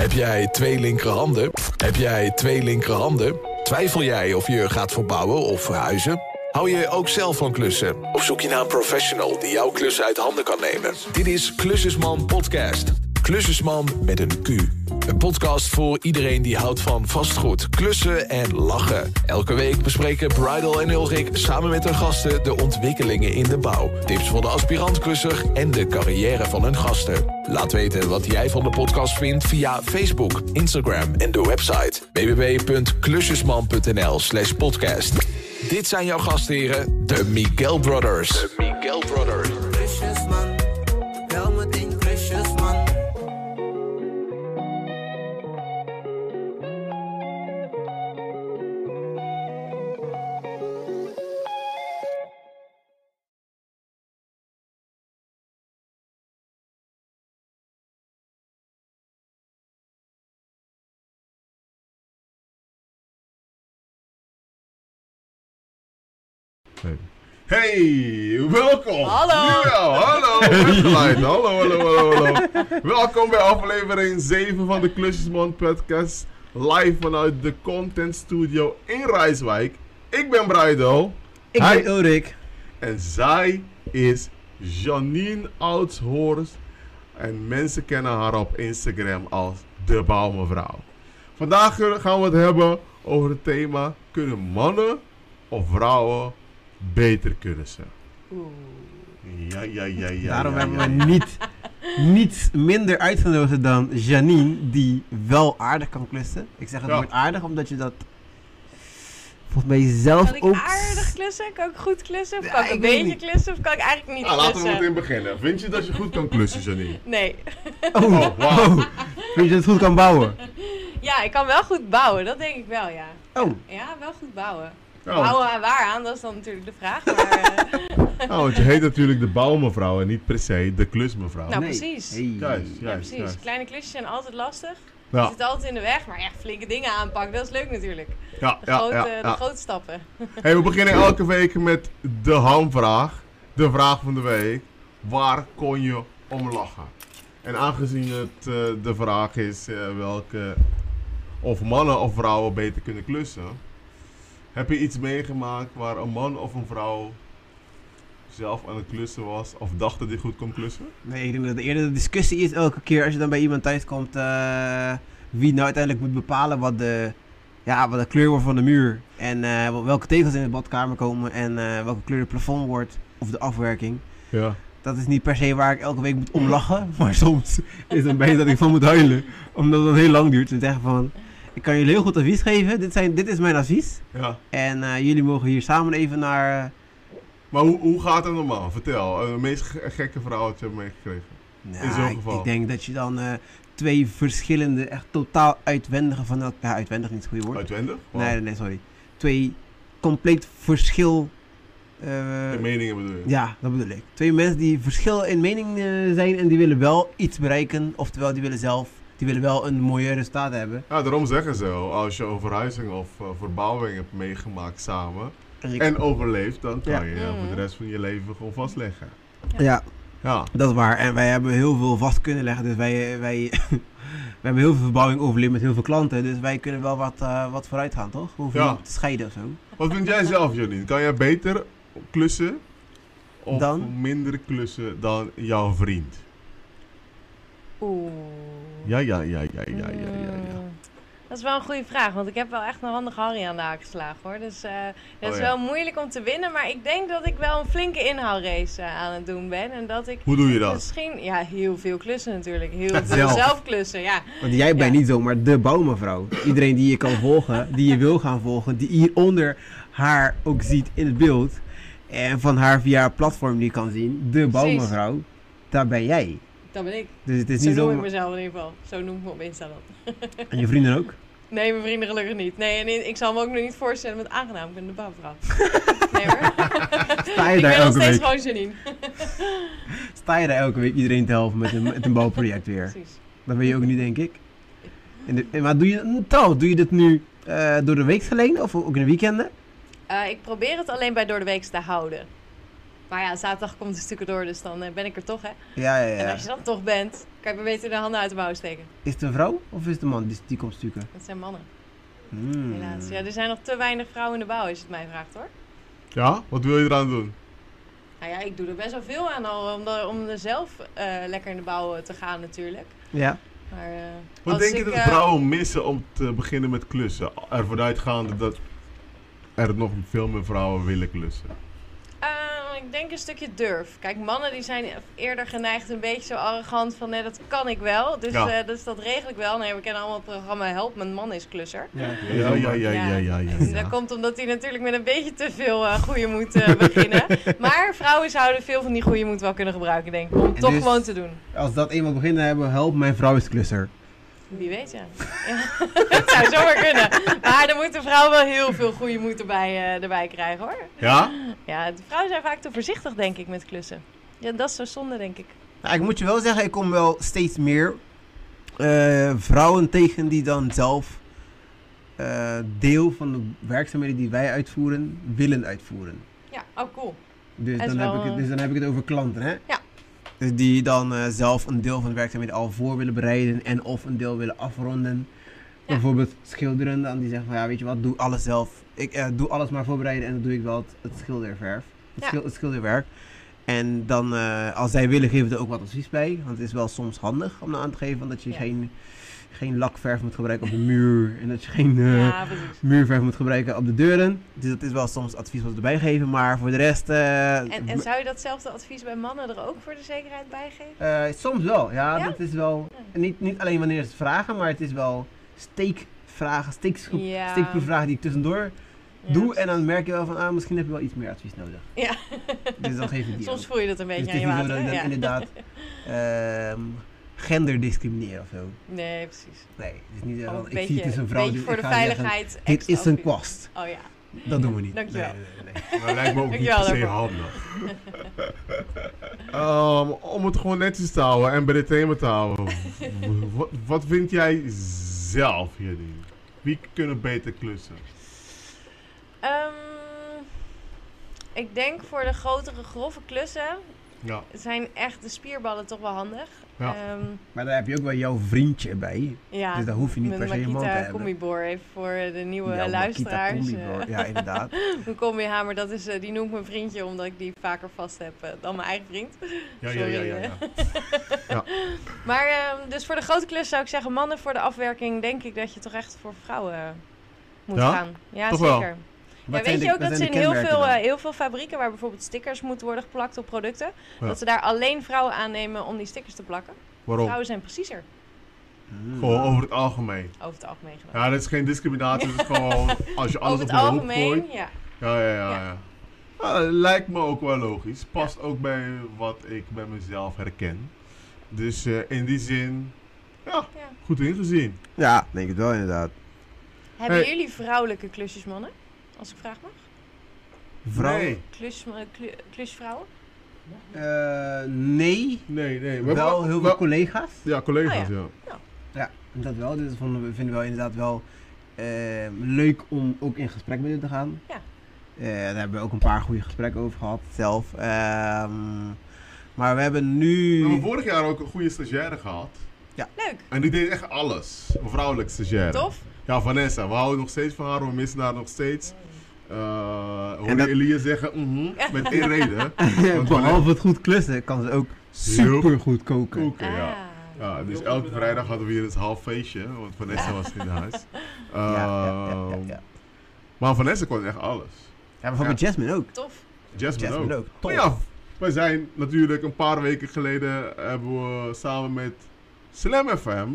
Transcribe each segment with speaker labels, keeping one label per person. Speaker 1: Heb jij twee linkerhanden? Heb jij twee linkerhanden? Twijfel jij of je gaat verbouwen of verhuizen? Hou je ook zelf van klussen? Of zoek je naar een professional die jouw klussen uit handen kan nemen? Dit is Klussersman Podcast. Klussersman met een Q. Een podcast voor iedereen die houdt van vastgoed, klussen en lachen. Elke week bespreken Bridal en Ulrik samen met hun gasten de ontwikkelingen in de bouw. Tips voor de aspirant-klusser en de carrière van hun gasten. Laat weten wat jij van de podcast vindt via Facebook, Instagram en de website www.klusjesman.nl slash podcast. Dit zijn jouw gastheren, de Miguel Brothers. De Miguel Brothers.
Speaker 2: Kusjes man, wel meteen kusjes man.
Speaker 3: Hey, welkom!
Speaker 4: Hallo.
Speaker 3: Ja, hallo! met geluid. Hallo, hallo, hallo, hallo. Welkom bij aflevering 7 van de Klusjesman Podcast. Live vanuit de Content Studio in Rijswijk. Ik ben Bruidel
Speaker 5: Ik
Speaker 3: Hi.
Speaker 5: ben Ulrik.
Speaker 3: en zij is Janine Oudshorst. En mensen kennen haar op Instagram als De Bouwmevrouw. Vandaag gaan we het hebben over het thema: kunnen mannen of vrouwen beter kunnen ze? Ja, ja, ja, ja.
Speaker 5: Daarom
Speaker 3: ja,
Speaker 5: hebben
Speaker 3: ja,
Speaker 5: we niet, niets minder uitgenodigd dan Janine, die wel aardig kan klussen. Ik zeg het
Speaker 3: Ja.
Speaker 5: woord aardig, omdat je dat volgens mij zelf
Speaker 4: Kan ik
Speaker 5: ook...
Speaker 4: aardig klussen? Kan ik goed klussen? Of
Speaker 5: Ja,
Speaker 4: kan ik een
Speaker 5: ik weet
Speaker 4: beetje
Speaker 5: niet.
Speaker 4: klussen? Of kan ik eigenlijk niet
Speaker 3: Nou, laten we
Speaker 4: klussen?
Speaker 3: meteen beginnen. Vind je dat je goed kan klussen, Janine?
Speaker 4: Nee.
Speaker 5: Oh,
Speaker 3: Oh, wauw.
Speaker 5: oh. Vind je dat het goed kan bouwen?
Speaker 4: Ja, ik kan wel goed bouwen. Dat denk ik wel, ja.
Speaker 5: Oh,
Speaker 4: Ja, wel goed bouwen.
Speaker 3: Oh,
Speaker 4: Bouwen aan waar aan? Dat is dan natuurlijk de vraag. Maar, eh,
Speaker 3: nou, want je heet natuurlijk de bouwmevrouw en niet per se de klusmevrouw.
Speaker 4: Nou,
Speaker 3: Nee.
Speaker 4: precies.
Speaker 5: Hey.
Speaker 3: Juist,
Speaker 4: ja,
Speaker 3: juist,
Speaker 4: precies.
Speaker 3: juist.
Speaker 4: Kleine klusjes zijn altijd lastig. Je
Speaker 3: Ja,
Speaker 4: zit altijd in de weg, maar echt flinke dingen aanpakken. Dat is leuk natuurlijk.
Speaker 3: ja,
Speaker 4: De,
Speaker 3: ja,
Speaker 4: grote,
Speaker 3: ja,
Speaker 4: de
Speaker 3: ja.
Speaker 4: grote stappen.
Speaker 3: Hey, we beginnen elke week met de hamvraag. De vraag van de week. Waar kon je om lachen? En aangezien het eh, de vraag is eh, welke of mannen of vrouwen beter kunnen klussen. Heb je iets meegemaakt waar een man of een vrouw zelf aan het klussen was of dacht dat hij goed kon klussen?
Speaker 5: Nee, ik denk dat het eerder de discussie is elke keer als je dan bij iemand thuiskomt... eh wie nou uiteindelijk moet bepalen wat de, ja, wat de kleur wordt van de muur. En eh, welke tegels in de badkamer komen en eh, welke kleur het plafond wordt. Of de afwerking.
Speaker 3: Ja.
Speaker 5: Dat is niet per se waar ik elke week moet om lachen. Maar soms is het beetje dat ik van moet huilen. Omdat het heel lang duurt. En zeggen van, ik kan jullie heel goed advies geven. Dit, zijn, dit is mijn advies.
Speaker 3: ja.
Speaker 5: En eh, jullie mogen hier samen even naar... eh,
Speaker 3: Maar hoe, hoe gaat het normaal? Vertel, eh, het meest ge- gekke verhaal dat je hebt meegekregen.
Speaker 5: nou,
Speaker 3: In zo'n
Speaker 5: ik-
Speaker 3: geval.
Speaker 5: Ik, denk dat je dan eh, twee verschillende, echt totaal uitwendige van elkaar... Ja, uitwendig is niet het goede woord.
Speaker 3: Uitwendig? Wow.
Speaker 5: nee, nee, nee, sorry. Twee compleet verschil... eh,
Speaker 3: De meningen bedoel je?
Speaker 5: Ja, dat bedoel ik. Twee mensen die verschil in mening eh, zijn en die willen wel iets bereiken. Oftewel, die willen zelf, die willen wel een mooier resultaat hebben.
Speaker 3: Ja, daarom zeggen ze, als je een verhuizing of eh, verbouwing hebt meegemaakt samen
Speaker 5: En ik-
Speaker 3: en overleeft, dan kan
Speaker 5: Ja.
Speaker 3: je eh, voor de
Speaker 4: Mhm.
Speaker 3: rest van je leven gewoon vastleggen.
Speaker 5: ja,
Speaker 3: Ja,
Speaker 5: dat is waar. En wij hebben heel veel vast kunnen leggen. Dus wij, eh, wij, wij hebben heel veel verbouwing overleefd met heel veel klanten. Dus wij kunnen wel wat, eh, wat vooruit gaan, toch? We hoeven
Speaker 3: Ja.
Speaker 5: niet te scheiden of zo.
Speaker 3: wat vind jij zelf, Janine? Kan jij beter klussen of
Speaker 5: Dan?
Speaker 3: minder klussen dan jouw vriend?
Speaker 4: Oeh.
Speaker 3: Ja, ja, ja, ja, ja, ja, ja. ja.
Speaker 4: Hmm. Dat is wel een goede vraag, want ik heb wel echt een handige Harry aan de haak geslagen hoor. Dus eh, dat
Speaker 3: Oh,
Speaker 4: is
Speaker 3: ja.
Speaker 4: wel moeilijk om te winnen, maar ik denk dat ik wel een flinke inhaalrace eh, aan het doen ben. En dat ik
Speaker 3: Hoe doe je dat?
Speaker 4: misschien, ja, heel veel klussen natuurlijk. Heel veel
Speaker 5: Zelf.
Speaker 4: zelf klussen, ja.
Speaker 5: Want jij bent
Speaker 4: Ja.
Speaker 5: niet zomaar de bouwmevrouw. Iedereen die je kan volgen, die je wil gaan volgen, die hieronder haar ook ziet in het beeld. En van haar via haar platform die je kan zien, de bouwmevrouw, daar ben jij.
Speaker 4: Dat ben ik.
Speaker 5: Dus het is
Speaker 4: Zo
Speaker 5: niet
Speaker 4: noem ik
Speaker 5: zomaar...
Speaker 4: mezelf in ieder geval. Zo noem ik me op Insta dan.
Speaker 5: En je vrienden ook?
Speaker 4: Nee, mijn vrienden gelukkig niet. Nee, en i- ik zal me ook nog niet voorstellen met aangenaam. Ik ben de bouwvrouw. Nee hoor.
Speaker 5: Sta je
Speaker 4: ik
Speaker 5: daar
Speaker 4: ben nog
Speaker 5: elke
Speaker 4: steeds
Speaker 5: week?
Speaker 4: gewoon Janine.
Speaker 5: Sta je daar elke week iedereen te helpen met een, met een bouwproject weer?
Speaker 4: Precies.
Speaker 5: Dat ben je ook niet, denk ik. En de- en maar doe je, trouwens, doe je dit nu eh, door de week alleen of ook in de weekenden?
Speaker 4: Eh, ik probeer het alleen bij Door de Weeks te houden. Maar ja, zaterdag komt het stuk door, dus dan eh, ben ik er toch, hè?
Speaker 5: Ja, ja,
Speaker 4: En
Speaker 5: ja.
Speaker 4: als je dan toch bent, kan je maar beter de handen uit de mouw steken.
Speaker 5: Is het een vrouw of is het een man die, die komt stukken?
Speaker 4: Dat zijn mannen,
Speaker 5: Hmm.
Speaker 4: helaas. Ja, er zijn nog te weinig vrouwen in de bouw, als je het mij vraagt, hoor.
Speaker 3: Ja? Wat wil je eraan doen?
Speaker 4: Nou ja, ik doe er best wel veel aan al, om, er- om er zelf eh, lekker in de bouw eh, te gaan natuurlijk.
Speaker 5: Ja.
Speaker 4: Maar, eh,
Speaker 3: Wat
Speaker 4: als
Speaker 3: denk je
Speaker 4: ik,
Speaker 3: dat
Speaker 4: eh,
Speaker 3: vrouwen missen om te beginnen met klussen? Ervan uitgaande dat er nog veel meer vrouwen willen klussen.
Speaker 4: Eh, ik denk een stukje durf. Kijk, mannen die zijn eerder geneigd een beetje zo arrogant van... nee, dat kan ik wel, dus,
Speaker 3: Ja.
Speaker 4: eh, dus dat regel ik wel. Nee, we kennen allemaal het programma Help, mijn man is klusser.
Speaker 5: Ja,
Speaker 3: Ja, ja, ja, ja, ja. ja,
Speaker 4: En Dat komt omdat hij natuurlijk met een beetje te veel eh goede moed eh, beginnen. maar vrouwen zouden veel van die goede moed wel kunnen gebruiken, denk ik. Om
Speaker 5: En
Speaker 4: toch
Speaker 5: dus-
Speaker 4: gewoon te doen.
Speaker 5: Als dat eenmaal beginnen hebben, help mijn vrouw is klusser.
Speaker 4: Wie weet, ja. ja. dat zou zomaar kunnen. Maar dan moet de vrouw wel heel veel goede moed erbij, eh, erbij krijgen, hoor.
Speaker 3: Ja?
Speaker 4: Ja, de vrouwen zijn vaak te voorzichtig, denk ik, met klussen. Ja, dat is zo zonde, denk ik.
Speaker 5: Nou, ik moet je wel zeggen, ik kom wel steeds meer eh, vrouwen tegen die dan zelf eh, deel van de werkzaamheden die wij uitvoeren, willen uitvoeren.
Speaker 4: Ja, oh cool.
Speaker 5: Dus
Speaker 4: Dat is
Speaker 5: dan,
Speaker 4: wel,
Speaker 5: heb ik het,
Speaker 4: eh,
Speaker 5: dus dan heb ik het over klanten, hè?
Speaker 4: Ja.
Speaker 5: Dus die dan eh, zelf een deel van de werkzaamheden al voor willen bereiden en of een deel willen afronden. Bijvoorbeeld schilderen, dan die zeggen van ja, weet je wat, doe alles zelf. Ik eh, doe alles maar voorbereiden en dan doe ik wel het, het schilderverf, het,
Speaker 4: Ja.
Speaker 5: schil- het schilderwerk. En dan, eh, als zij willen, geven we er ook wat advies bij. Want het is wel soms handig om aan te geven dat je
Speaker 4: Ja.
Speaker 5: geen, geen lakverf moet gebruiken op de muur. En dat je geen eh,
Speaker 4: Ja, precies.
Speaker 5: muurverf moet gebruiken op de deuren. Dus dat is wel soms advies wat we erbij geven, maar voor de rest... eh,
Speaker 4: En, en zou je datzelfde advies bij mannen er ook voor de zekerheid bij geven?
Speaker 5: eh, soms wel, ja,
Speaker 4: Ja?
Speaker 5: dat is wel... Niet, niet alleen wanneer ze vragen, maar het is wel steekvragen, steekschroep,
Speaker 4: Ja.
Speaker 5: steekproefvragen die ik tussendoor
Speaker 4: Ja,
Speaker 5: doe.
Speaker 4: precies.
Speaker 5: En dan merk je wel van, ah, misschien heb je wel iets meer advies nodig.
Speaker 4: Ja.
Speaker 5: Dus dan geef je die
Speaker 4: Soms
Speaker 5: ook.
Speaker 4: voel je dat een beetje
Speaker 5: Dus het
Speaker 4: aan
Speaker 5: is
Speaker 4: je
Speaker 5: niet zo
Speaker 4: water.
Speaker 5: dat ik
Speaker 4: hè?
Speaker 5: dan
Speaker 4: Ja.
Speaker 5: inderdaad ehm gender discrimineren of zo.
Speaker 4: Nee, precies.
Speaker 5: Nee, het is niet zo
Speaker 4: Gewoon
Speaker 5: van,
Speaker 4: Oh, een
Speaker 5: ik
Speaker 4: beetje,
Speaker 5: zie het is een vrouw,
Speaker 4: beetje
Speaker 5: dus
Speaker 4: voor
Speaker 5: ik
Speaker 4: de
Speaker 5: ga zeggen,
Speaker 4: veiligheid.
Speaker 5: dit
Speaker 4: extra
Speaker 5: is een
Speaker 4: advies.
Speaker 5: kwast.
Speaker 4: Oh ja.
Speaker 5: Dat doen we niet.
Speaker 4: Dankjewel.
Speaker 5: Nee, nee, nee, nee.
Speaker 3: Dat lijkt me ook niet
Speaker 4: Dankjewel
Speaker 3: per se
Speaker 4: daarvoor.
Speaker 3: handig. Ehm, om het gewoon netjes te houden en bij de thema te houden. w- wat, wat vind jij zelf hierin? Wie kunnen beter klussen?
Speaker 4: Ehm, ik denk voor de grotere, grove klussen
Speaker 3: Ja.
Speaker 4: zijn echt de spierballen toch wel handig.
Speaker 3: Ja.
Speaker 4: Ehm,
Speaker 5: Maar daar heb je ook wel jouw vriendje bij.
Speaker 4: ja.
Speaker 5: Dus daar hoef je niet
Speaker 4: Met
Speaker 5: per se een man te
Speaker 4: Makita
Speaker 5: hebben.
Speaker 4: Combiboor even voor eh, de nieuwe
Speaker 5: Jouw
Speaker 4: luisteraars.
Speaker 5: Makita
Speaker 4: eh.
Speaker 5: combi, bro. Ja, inderdaad.
Speaker 4: Een combihamer, dat is, eh, die noem ik mijn vriendje omdat ik die vaker vast heb eh, dan mijn eigen vriend.
Speaker 3: Ja, ja,
Speaker 4: Sorry,
Speaker 3: ja, ja.
Speaker 4: hè.
Speaker 3: ja.
Speaker 4: Maar ehm, dus voor de grote klus zou ik zeggen mannen. Voor de afwerking denk ik dat je toch echt voor vrouwen moet
Speaker 3: Ja?
Speaker 4: gaan. Ja,
Speaker 3: Toch wel.
Speaker 4: zeker.
Speaker 5: Wat
Speaker 4: Ja,
Speaker 5: zijn
Speaker 4: weet
Speaker 5: de-
Speaker 4: je ook
Speaker 5: wat
Speaker 4: dat ze
Speaker 5: zijn
Speaker 4: in
Speaker 5: de
Speaker 4: heel
Speaker 5: kenmerken
Speaker 4: veel, eh,
Speaker 5: dan?
Speaker 4: heel veel fabrieken waar bijvoorbeeld stickers moeten worden geplakt op producten,
Speaker 3: Ja.
Speaker 4: dat ze daar alleen vrouwen aannemen om die stickers te plakken.
Speaker 5: Oh.
Speaker 3: Waarom?
Speaker 4: Vrouwen zijn preciezer, eh,
Speaker 5: Hmm.
Speaker 3: Gewoon over het algemeen.
Speaker 4: over het algemeen genomen.
Speaker 3: Ja, dat is geen discriminatie. Dat is gewoon als je alles
Speaker 4: over
Speaker 3: op
Speaker 4: het
Speaker 3: de hoop
Speaker 4: algemeen,
Speaker 3: gooit.
Speaker 4: ja.
Speaker 3: Ja, ja, ja.
Speaker 4: Ja.
Speaker 3: ja. Ah, lijkt me ook wel logisch. Past ook bij wat ik bij mezelf herken. Dus eh, in die zin, ja,
Speaker 4: Ja.
Speaker 3: goed ingezien.
Speaker 5: Ja, denk het wel inderdaad.
Speaker 4: Hebben
Speaker 3: Hey.
Speaker 4: jullie vrouwelijke klusjes, mannen? Als ik vraag mag.
Speaker 5: Vrouw?
Speaker 3: Nee,
Speaker 4: Klus, eh, klu- klusvrouwen?
Speaker 5: Eh, nee.
Speaker 3: nee, nee. We
Speaker 5: Wel
Speaker 3: hebben-
Speaker 5: heel
Speaker 3: wel-
Speaker 5: veel collega's.
Speaker 3: Ja, collega's,
Speaker 4: Oh,
Speaker 3: ja.
Speaker 5: Ja, dat wel. Dus dat vonden we, vinden we wel inderdaad wel ehm, leuk om ook in gesprek met hen te gaan.
Speaker 4: Ja.
Speaker 5: Eh, daar hebben we ook een paar goede gesprekken over gehad zelf. Ehm, maar we hebben nu...
Speaker 3: We hebben vorig jaar ook een goede stagiaire gehad.
Speaker 4: Leuk,
Speaker 3: En die deed echt alles. Een vrouwelijke stagiaire.
Speaker 4: tof.
Speaker 3: Ja, Vanessa. We houden nog steeds van haar. We missen haar nog steeds. Eh hoorde
Speaker 5: En dat-
Speaker 3: Elia zeggen, mhm, met één reden. Want
Speaker 5: Behalve het goed klussen kan ze ook super goed koken.
Speaker 3: Koken, ja.
Speaker 4: Ah.
Speaker 3: Ja, dus elke vrijdag hadden we hier een half feestje, want Vanessa was in huis.
Speaker 5: Ja, ja, ja, ja, ja.
Speaker 3: Ehm, Maar Vanessa kon echt alles.
Speaker 5: Ja, bijvoorbeeld Jasmine ook.
Speaker 4: Tof.
Speaker 3: Jasmine,
Speaker 5: Jasmine
Speaker 3: ook.
Speaker 5: ook.
Speaker 3: Maar
Speaker 5: Top.
Speaker 3: ja, we zijn natuurlijk een paar weken geleden hebben we samen met Slam FM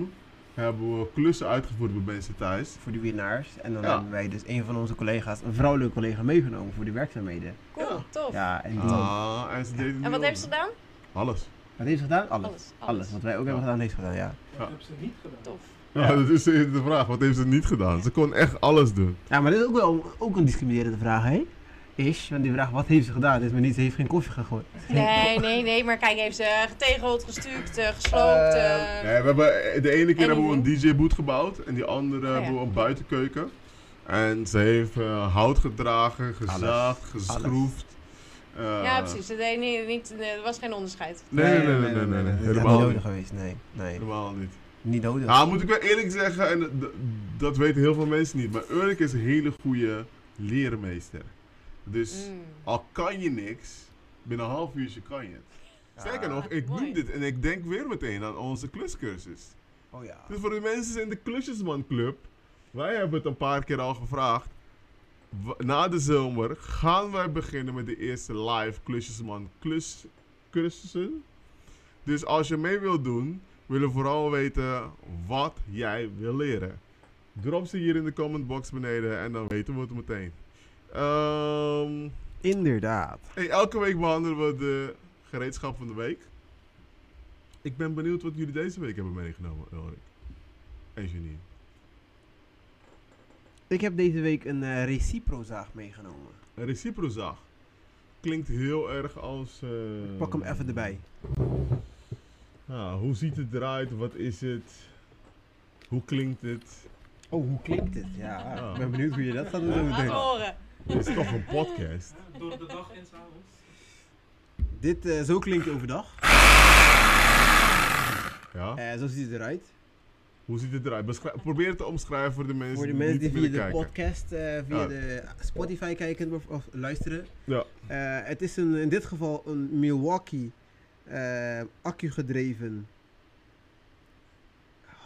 Speaker 3: hebben we klussen uitgevoerd bij mensen thuis.
Speaker 5: Voor de winnaars. En dan
Speaker 3: Ja.
Speaker 5: hebben wij dus een van onze collega's, een vrouwelijke collega, meegenomen voor die werkzaamheden.
Speaker 4: Cool,
Speaker 3: Ja.
Speaker 4: tof.
Speaker 5: Ja, en die...
Speaker 3: Ah, en ze deed het
Speaker 4: En wat
Speaker 3: niet
Speaker 4: heeft ze
Speaker 3: om.
Speaker 4: gedaan?
Speaker 3: Alles.
Speaker 5: Wat heeft ze gedaan? Alles. Alles.
Speaker 4: Alles, alles.
Speaker 5: Wat wij ook hebben gedaan, heeft ze gedaan, ja.
Speaker 4: Tof.
Speaker 3: Ja. dat is de vraag. Wat heeft ze niet gedaan? Ze kon echt alles doen.
Speaker 5: Ja, maar dit is ook wel ook een discriminerende vraag, hè? Is, want die vraag, wat heeft ze gedaan? Dit is maar niet, ze heeft geen koffie gegooid.
Speaker 4: Nee, nee, nee, maar kijk, heeft ze getegeld, gestuukt, eh, gesloopt? eh,
Speaker 3: Nee, we hebben, de ene keer
Speaker 4: En
Speaker 3: hebben we een DJ-boot gebouwd en die andere
Speaker 4: ja.
Speaker 3: hebben we een buitenkeuken. En ze heeft eh, hout gedragen, gezaagd, geschroefd. Eh,
Speaker 4: ja, precies. Het deed niet, niet, er was geen onderscheid.
Speaker 3: Nee, nee, nee, nee, nee, nee,
Speaker 5: Dat is niet
Speaker 3: helemaal
Speaker 5: nodig
Speaker 3: niet.
Speaker 5: geweest, nee. Nee,
Speaker 3: Helemaal niet.
Speaker 5: niet nodig.
Speaker 3: Nou, moet ik wel eerlijk zeggen, en d- d- dat weten heel veel mensen niet, maar Urk is een hele goede leermeester. Dus
Speaker 4: Mm.
Speaker 3: al kan je niks, binnen een half uurtje kan je het. Sterker nog, ik
Speaker 4: Ah, mooi.
Speaker 3: noem dit en ik denk weer meteen aan onze kluscursus.
Speaker 5: Oh ja.
Speaker 3: Dus voor de mensen in de Klusjesman Club, wij hebben het een paar keer al gevraagd. W- Na de zomer gaan wij beginnen met de eerste live Klusjesman Kluscursussen. Dus als je mee wilt doen, willen we vooral weten wat jij wil leren. Drop ze hier in de comment box beneden en dan weten we het meteen. Ehm,
Speaker 5: Inderdaad.
Speaker 3: hey, elke week behandelen we de gereedschap van de week. Ik ben benieuwd wat jullie deze week hebben meegenomen, Ulrik. En Janine.
Speaker 5: Ik heb deze week een eh reciprozaag meegenomen.
Speaker 3: Een reciprozaag. Klinkt heel erg als... eh,
Speaker 5: Pak hem even erbij.
Speaker 3: Nou, hoe ziet het eruit? Wat is het? Hoe klinkt het?
Speaker 5: Oh, hoe klinkt het? Ja,
Speaker 3: Oh.
Speaker 5: ik ben benieuwd hoe je dat gaat doen.
Speaker 4: Laat
Speaker 5: zometeen.
Speaker 4: me horen.
Speaker 3: Dit is toch een podcast?
Speaker 6: Door de dag en s'avonds.
Speaker 5: Dit, eh, zo klinkt het overdag.
Speaker 3: Ja?
Speaker 5: Eh, zo ziet het eruit.
Speaker 3: Hoe ziet het eruit? Beschrij- Probeer het te omschrijven voor de mensen,
Speaker 5: Voor de mensen die
Speaker 3: niet
Speaker 5: via de
Speaker 3: willen kijken.
Speaker 5: podcast, eh, via
Speaker 3: Ja.
Speaker 5: de Spotify kijken of, of luisteren.
Speaker 3: Ja.
Speaker 5: Eh, het is een, in dit geval een Milwaukee eh, accu-gedreven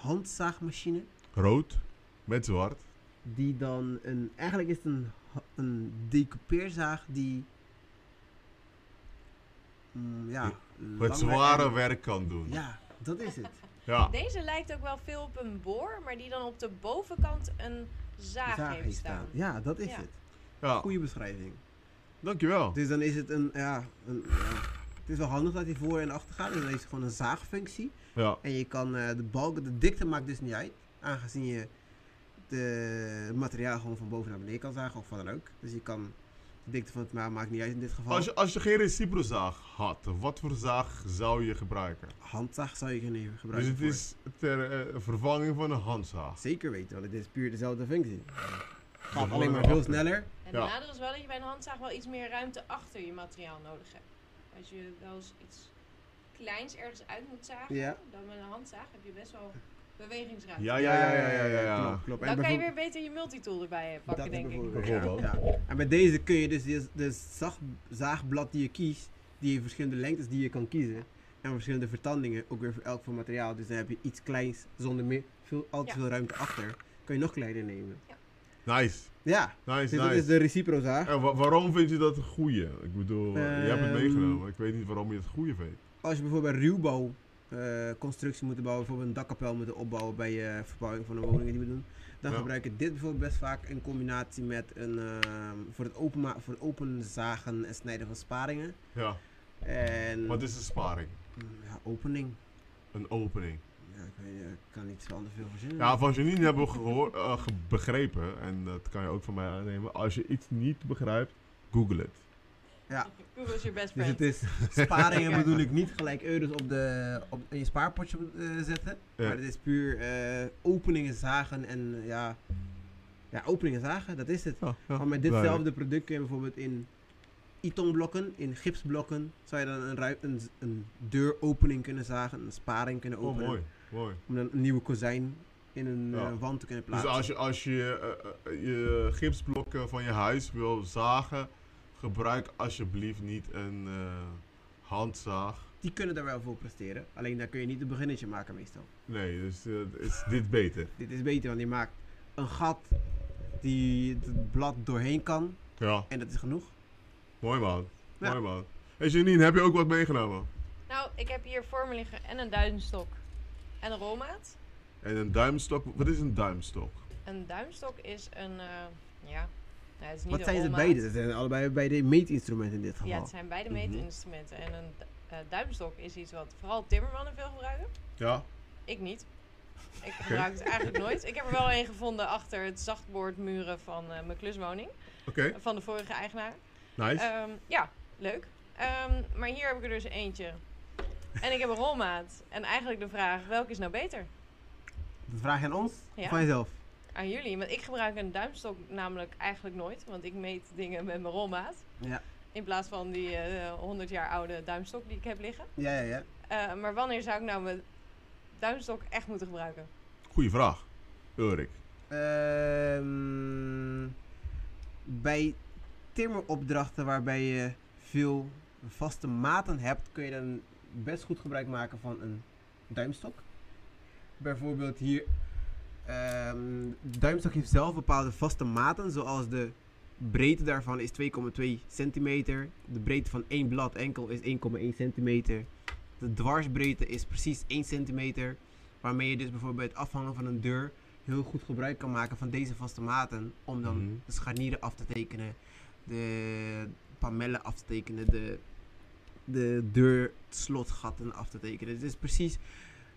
Speaker 5: handzaagmachine.
Speaker 3: Rood met zwart.
Speaker 5: Die dan een, eigenlijk is het een, ha- een decoupeerzaag die. mm, ja,
Speaker 3: Met
Speaker 5: langer
Speaker 3: zware
Speaker 5: en-
Speaker 3: werk kan doen. Ja.
Speaker 5: Ja, dat is het.
Speaker 4: Deze lijkt ook wel veel op een boor, maar die dan op de bovenkant een zaag, heeft staan.
Speaker 5: Ja, dat is
Speaker 4: Ja.
Speaker 5: het.
Speaker 3: ja.
Speaker 5: Goede beschrijving.
Speaker 3: Dankjewel.
Speaker 5: Dus dan is het een, ja, een, ja. Het is wel handig dat hij voor en achter gaat. Dus dan is het gewoon een zaagfunctie.
Speaker 3: Ja.
Speaker 5: En je kan eh, de balken, de dikte maakt dus niet uit. Aangezien je de- het materiaal gewoon van boven naar beneden kan zagen of wat dan ook. Dus je kan, de dikte van het ma- maakt niet uit in dit geval.
Speaker 3: Als je, als je geen reciprozaag had, wat voor zaag zou je gebruiken?
Speaker 5: Handzaag zou je kunnen
Speaker 3: Dus
Speaker 5: gebruiken
Speaker 3: het
Speaker 5: voor.
Speaker 3: is ter eh, vervanging van een handzaag.
Speaker 5: Zeker weten, want het is puur dezelfde functie. Gaat
Speaker 3: gewoon
Speaker 5: alleen maar
Speaker 3: naar
Speaker 5: veel
Speaker 3: achter.
Speaker 5: sneller.
Speaker 4: En
Speaker 3: Ja.
Speaker 4: het nadeel is wel dat je bij een handzaag wel iets meer ruimte achter je materiaal nodig hebt. Als je wel eens iets kleins ergens uit moet zagen,
Speaker 5: Ja.
Speaker 4: dan met een handzaag heb je best wel bewegingsruimte.
Speaker 3: Ja, ja, ja, ja, ja, ja.
Speaker 5: Klopt, klopt.
Speaker 4: Dan kan je
Speaker 5: bijvoorbeeld-
Speaker 4: weer beter je multitool erbij eh, pakken, denk ik.
Speaker 5: bijvoorbeeld,
Speaker 3: Bijvoorbeeld.
Speaker 5: Ja. Ja. En met deze kun je dus de, de zag- zaagblad die je kiest, die heeft verschillende lengtes die je kan kiezen. En verschillende vertandingen, ook weer voor elk van materiaal. Dus dan heb je iets kleins zonder meer, veel, al te
Speaker 4: Ja.
Speaker 5: veel ruimte achter. Kun je nog kleiner nemen.
Speaker 3: Nice,
Speaker 5: Ja, dus
Speaker 3: nice,
Speaker 5: dat is
Speaker 3: nice.
Speaker 5: de reciprozaag.
Speaker 3: En wa- waarom vind je dat een goeie? Ik bedoel, eh, je hebt het
Speaker 5: Ehm.
Speaker 3: meegenomen. Ik weet niet waarom je het goeie vindt.
Speaker 5: Als je bijvoorbeeld bij ruwbouw eh, constructie moet bouwen, bijvoorbeeld een dakkapel moet opbouwen bij eh, verbouwing van de woningen die we doen, dan
Speaker 3: Ja.
Speaker 5: gebruik je dit bijvoorbeeld best vaak in combinatie met een ehm, voor het openma- voor het openzagen en snijden van sparingen.
Speaker 3: Ja.
Speaker 5: En
Speaker 3: Wat is een sparing?
Speaker 5: Mm, Ja, opening.
Speaker 3: Een opening.
Speaker 5: Ja, ik, weet, niet, ik kan niet zo anders veel verzinnen.
Speaker 3: Ja, van Janine hebben we gehoor, eh, ge- begrepen. En dat kan je ook van mij aannemen. Als je iets niet begrijpt, google het.
Speaker 4: Google is your best
Speaker 5: dus
Speaker 4: friend.
Speaker 5: het is sparingen bedoel ik niet gelijk euro's op de, op, in je spaarpotje eh, zetten.
Speaker 3: Ja.
Speaker 5: Maar het is puur eh, openingen zagen en eh, ja, ja, openingen zagen, dat is het.
Speaker 3: Ja, ja.
Speaker 5: Maar met
Speaker 3: Duidelijk.
Speaker 5: ditzelfde product kun je bijvoorbeeld in itonblokken, in gipsblokken, zou je dan een, ruim, een, een deuropening kunnen zagen, een sparing kunnen
Speaker 3: Oh,
Speaker 5: openen.
Speaker 3: mooi. Mooi.
Speaker 5: Om dan een nieuwe kozijn in een
Speaker 3: Ja.
Speaker 5: eh, wand te kunnen
Speaker 3: Dus
Speaker 5: plaatsen.
Speaker 3: als je, als je eh, eh, je gipsblokken van je huis wil zagen, gebruik alsjeblieft niet een eh, handzaag.
Speaker 5: Die kunnen daar wel voor presteren, alleen daar kun je niet een beginnetje maken meestal.
Speaker 3: Nee, dus eh, is dit beter.
Speaker 5: Dit is beter, want die maakt een gat die het blad doorheen kan.
Speaker 3: Ja,
Speaker 5: En dat is genoeg.
Speaker 3: mooi man.
Speaker 5: Ja.
Speaker 3: Mooi man. Hey Janine, heb je ook wat meegenomen?
Speaker 4: Nou, ik heb hier voor me liggen en een duimstok en een rolmaat.
Speaker 3: En een duimstok. Wat is een duimstok?
Speaker 4: Een duimstok is een, eh, ja, nou, het is niet
Speaker 5: Wat
Speaker 4: een
Speaker 5: zijn ze
Speaker 4: rolmaat.
Speaker 5: beide? Ze zijn allebei beide meetinstrumenten in dit geval.
Speaker 4: Ja, het zijn beide
Speaker 5: Mhm.
Speaker 4: meetinstrumenten. En een eh, duimstok is iets wat vooral timmermannen veel gebruiken.
Speaker 3: Ja?
Speaker 4: Ik niet. Ik gebruik het eigenlijk nooit. Ik heb er wel een gevonden achter het zachtboordmuren van eh, mijn kluswoning.
Speaker 3: Oké,
Speaker 5: Eh,
Speaker 4: Van de vorige eigenaar.
Speaker 3: nice.
Speaker 4: Ehm, ja, leuk. Ehm, maar hier heb ik er dus eentje. En ik heb een rolmaat. En eigenlijk de vraag, welke is nou beter?
Speaker 5: Dat vraag je aan ons
Speaker 4: Ja.
Speaker 5: of aan jezelf?
Speaker 4: Aan jullie. Want ik gebruik een duimstok namelijk eigenlijk nooit. Want ik meet dingen met mijn rolmaat.
Speaker 5: Ja.
Speaker 4: In plaats van die eh, 100 jaar oude duimstok die ik heb liggen.
Speaker 5: Ja, ja, ja.
Speaker 4: Eh, maar wanneer zou ik nou mijn duimstok echt moeten gebruiken?
Speaker 3: Goeie vraag, Ulrik.
Speaker 5: Ehm, bij timmeropdrachten waarbij je veel vaste maten hebt, kun je dan best goed gebruik maken van een duimstok. Bijvoorbeeld hier, ehm, de duimstok heeft zelf bepaalde vaste maten, zoals de breedte daarvan is 2,2 centimeter. De breedte van één blad enkel is 1,1 centimeter. De dwarsbreedte is precies 1 centimeter. Waarmee je dus bijvoorbeeld bij het afhangen van een deur heel goed gebruik kan maken van deze vaste maten. Om dan
Speaker 3: Mhm.
Speaker 5: de scharnieren af te tekenen, de pamellen af te tekenen, de, de deurslotgatten af te tekenen. Het is precies.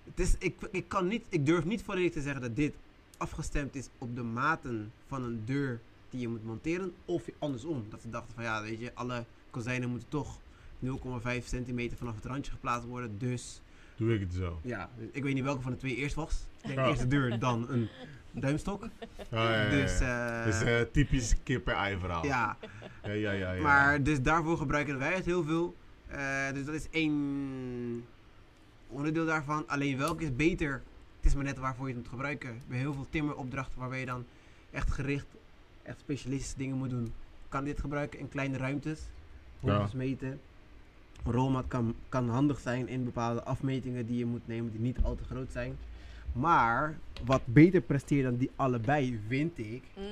Speaker 5: Het is, ik, ik, kan niet, ik durf niet volledig te zeggen dat dit afgestemd is op de maten van een deur die je moet monteren. Of andersom. Dat ze dachten van ja, weet je, alle kozijnen moeten toch 0,5 centimeter vanaf het randje geplaatst worden. Dus
Speaker 3: Doe ik het zo.
Speaker 5: ja, ik weet niet welke van de twee eerst was. Ik denk
Speaker 3: Ja.
Speaker 5: eerst de deur, dan een duimstok.
Speaker 3: Ja, ja, ja, ja.
Speaker 5: Dus, eh,
Speaker 3: Het is eh, typisch kip en ei verhaal.
Speaker 5: ja,
Speaker 3: Ja, ja, ja, ja.
Speaker 5: maar dus daarvoor gebruiken wij het heel veel. Eh, dus dat is één onderdeel daarvan. Alleen welke is beter? Het is maar net waarvoor je het moet gebruiken. Bij heel veel timmeropdrachten waarbij je dan echt gericht, echt specialistische dingen moet doen, kan dit gebruiken in kleine ruimtes. Hoogtes meten. Een rolmat kan, kan handig zijn in bepaalde afmetingen die je moet nemen die niet al te groot zijn. Maar wat beter presteert dan die allebei, vind ik,
Speaker 4: Mhm.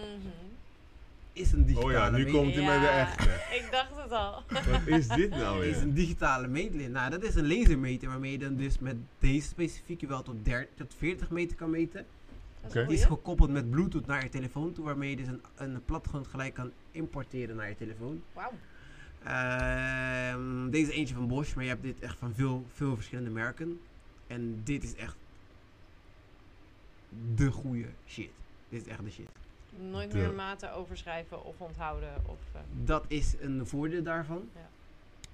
Speaker 5: is een digitale
Speaker 3: Oh ja, nu
Speaker 5: meting.
Speaker 3: komt hij met de echte.
Speaker 4: Ik dacht het al.
Speaker 3: Wat is dit nou
Speaker 5: Het
Speaker 4: Oh,
Speaker 3: weer?
Speaker 5: is een digitale meetlint. Nou, dat is een lasermeter waarmee je dan dus met deze specifieke wel tot, 30, tot 40 meter kan meten.
Speaker 4: Dat is
Speaker 3: Oké.
Speaker 4: een
Speaker 5: Die is
Speaker 4: goeie.
Speaker 5: gekoppeld met Bluetooth naar je telefoon toe, waarmee je dus een, een platgrond gelijk kan importeren naar je telefoon.
Speaker 4: Wauw.
Speaker 5: Ehm, deze is eentje van Bosch, maar je hebt dit echt van veel, veel verschillende merken. En dit is echt de goede shit. Dit is echt de shit.
Speaker 4: Nooit
Speaker 3: De-
Speaker 4: meer maten overschrijven of onthouden. Of, eh,
Speaker 5: Dat is een voordeel daarvan.
Speaker 4: Ja.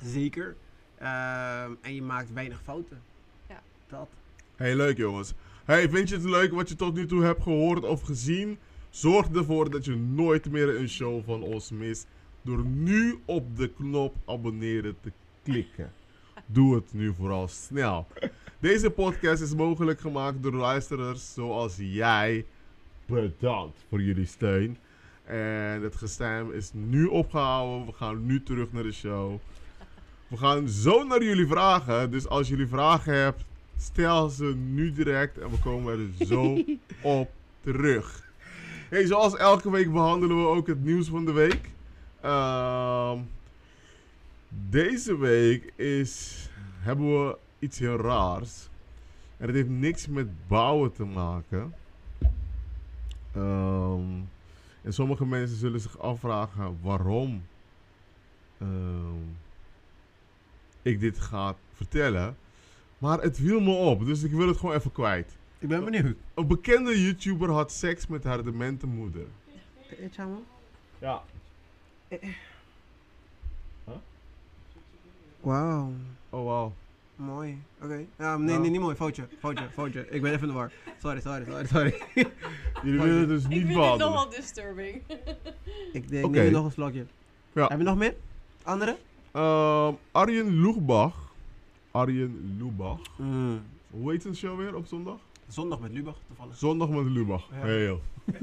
Speaker 5: Zeker. Ehm, en je maakt weinig fouten.
Speaker 4: Ja.
Speaker 5: Dat
Speaker 3: Hey, leuk jongens. Hey, vind je het leuk wat je tot nu toe hebt gehoord of gezien? Zorg ervoor dat je nooit meer een show van ons mist door nu op de knop abonneren te klikken. Doe het nu vooral snel. Deze podcast is mogelijk gemaakt door luisteraars zoals jij. Bedankt voor jullie steun. En het gestem is nu opgehouden. We gaan nu terug naar de show. We gaan zo naar jullie vragen. Dus als jullie vragen hebt, Stel ze nu direct en we komen er zo op terug. Hey, zoals elke week behandelen we ook het nieuws van de week. Ehm, deze week is, hebben we iets heel raars. En het heeft niks met bouwen te maken. Ehm, en sommige mensen zullen zich afvragen waarom ehm, ik dit ga vertellen. Maar het viel me op, dus ik wil het gewoon even kwijt.
Speaker 5: Ik ben benieuwd.
Speaker 3: Een bekende YouTuber had seks met haar demente moeder. Ja.
Speaker 5: Eh. Wauw,
Speaker 3: Oh wauw.
Speaker 5: mooi. Oké. Ja, nee,
Speaker 3: Nou.
Speaker 5: nee, niet mooi. Foutje, foutje, foutje. Ik ben even in de war. Sorry, sorry, sorry, sorry.
Speaker 3: Jullie willen het dus
Speaker 4: ik
Speaker 3: niet
Speaker 4: vind het
Speaker 3: behandelen.
Speaker 4: nogal disturbing.
Speaker 5: Ik denk,
Speaker 3: Oké.
Speaker 5: neem nog een slokje.
Speaker 3: Ja.
Speaker 5: Heb je nog meer? Andere?
Speaker 3: Ehm, Arjen Loebach. Arjen Loebach.
Speaker 5: Mm.
Speaker 3: Hoe heet zijn show weer op zondag?
Speaker 5: Zondag met Lubach, toevallig.
Speaker 3: Zondag met Lubach.
Speaker 5: Ja.
Speaker 3: Heel.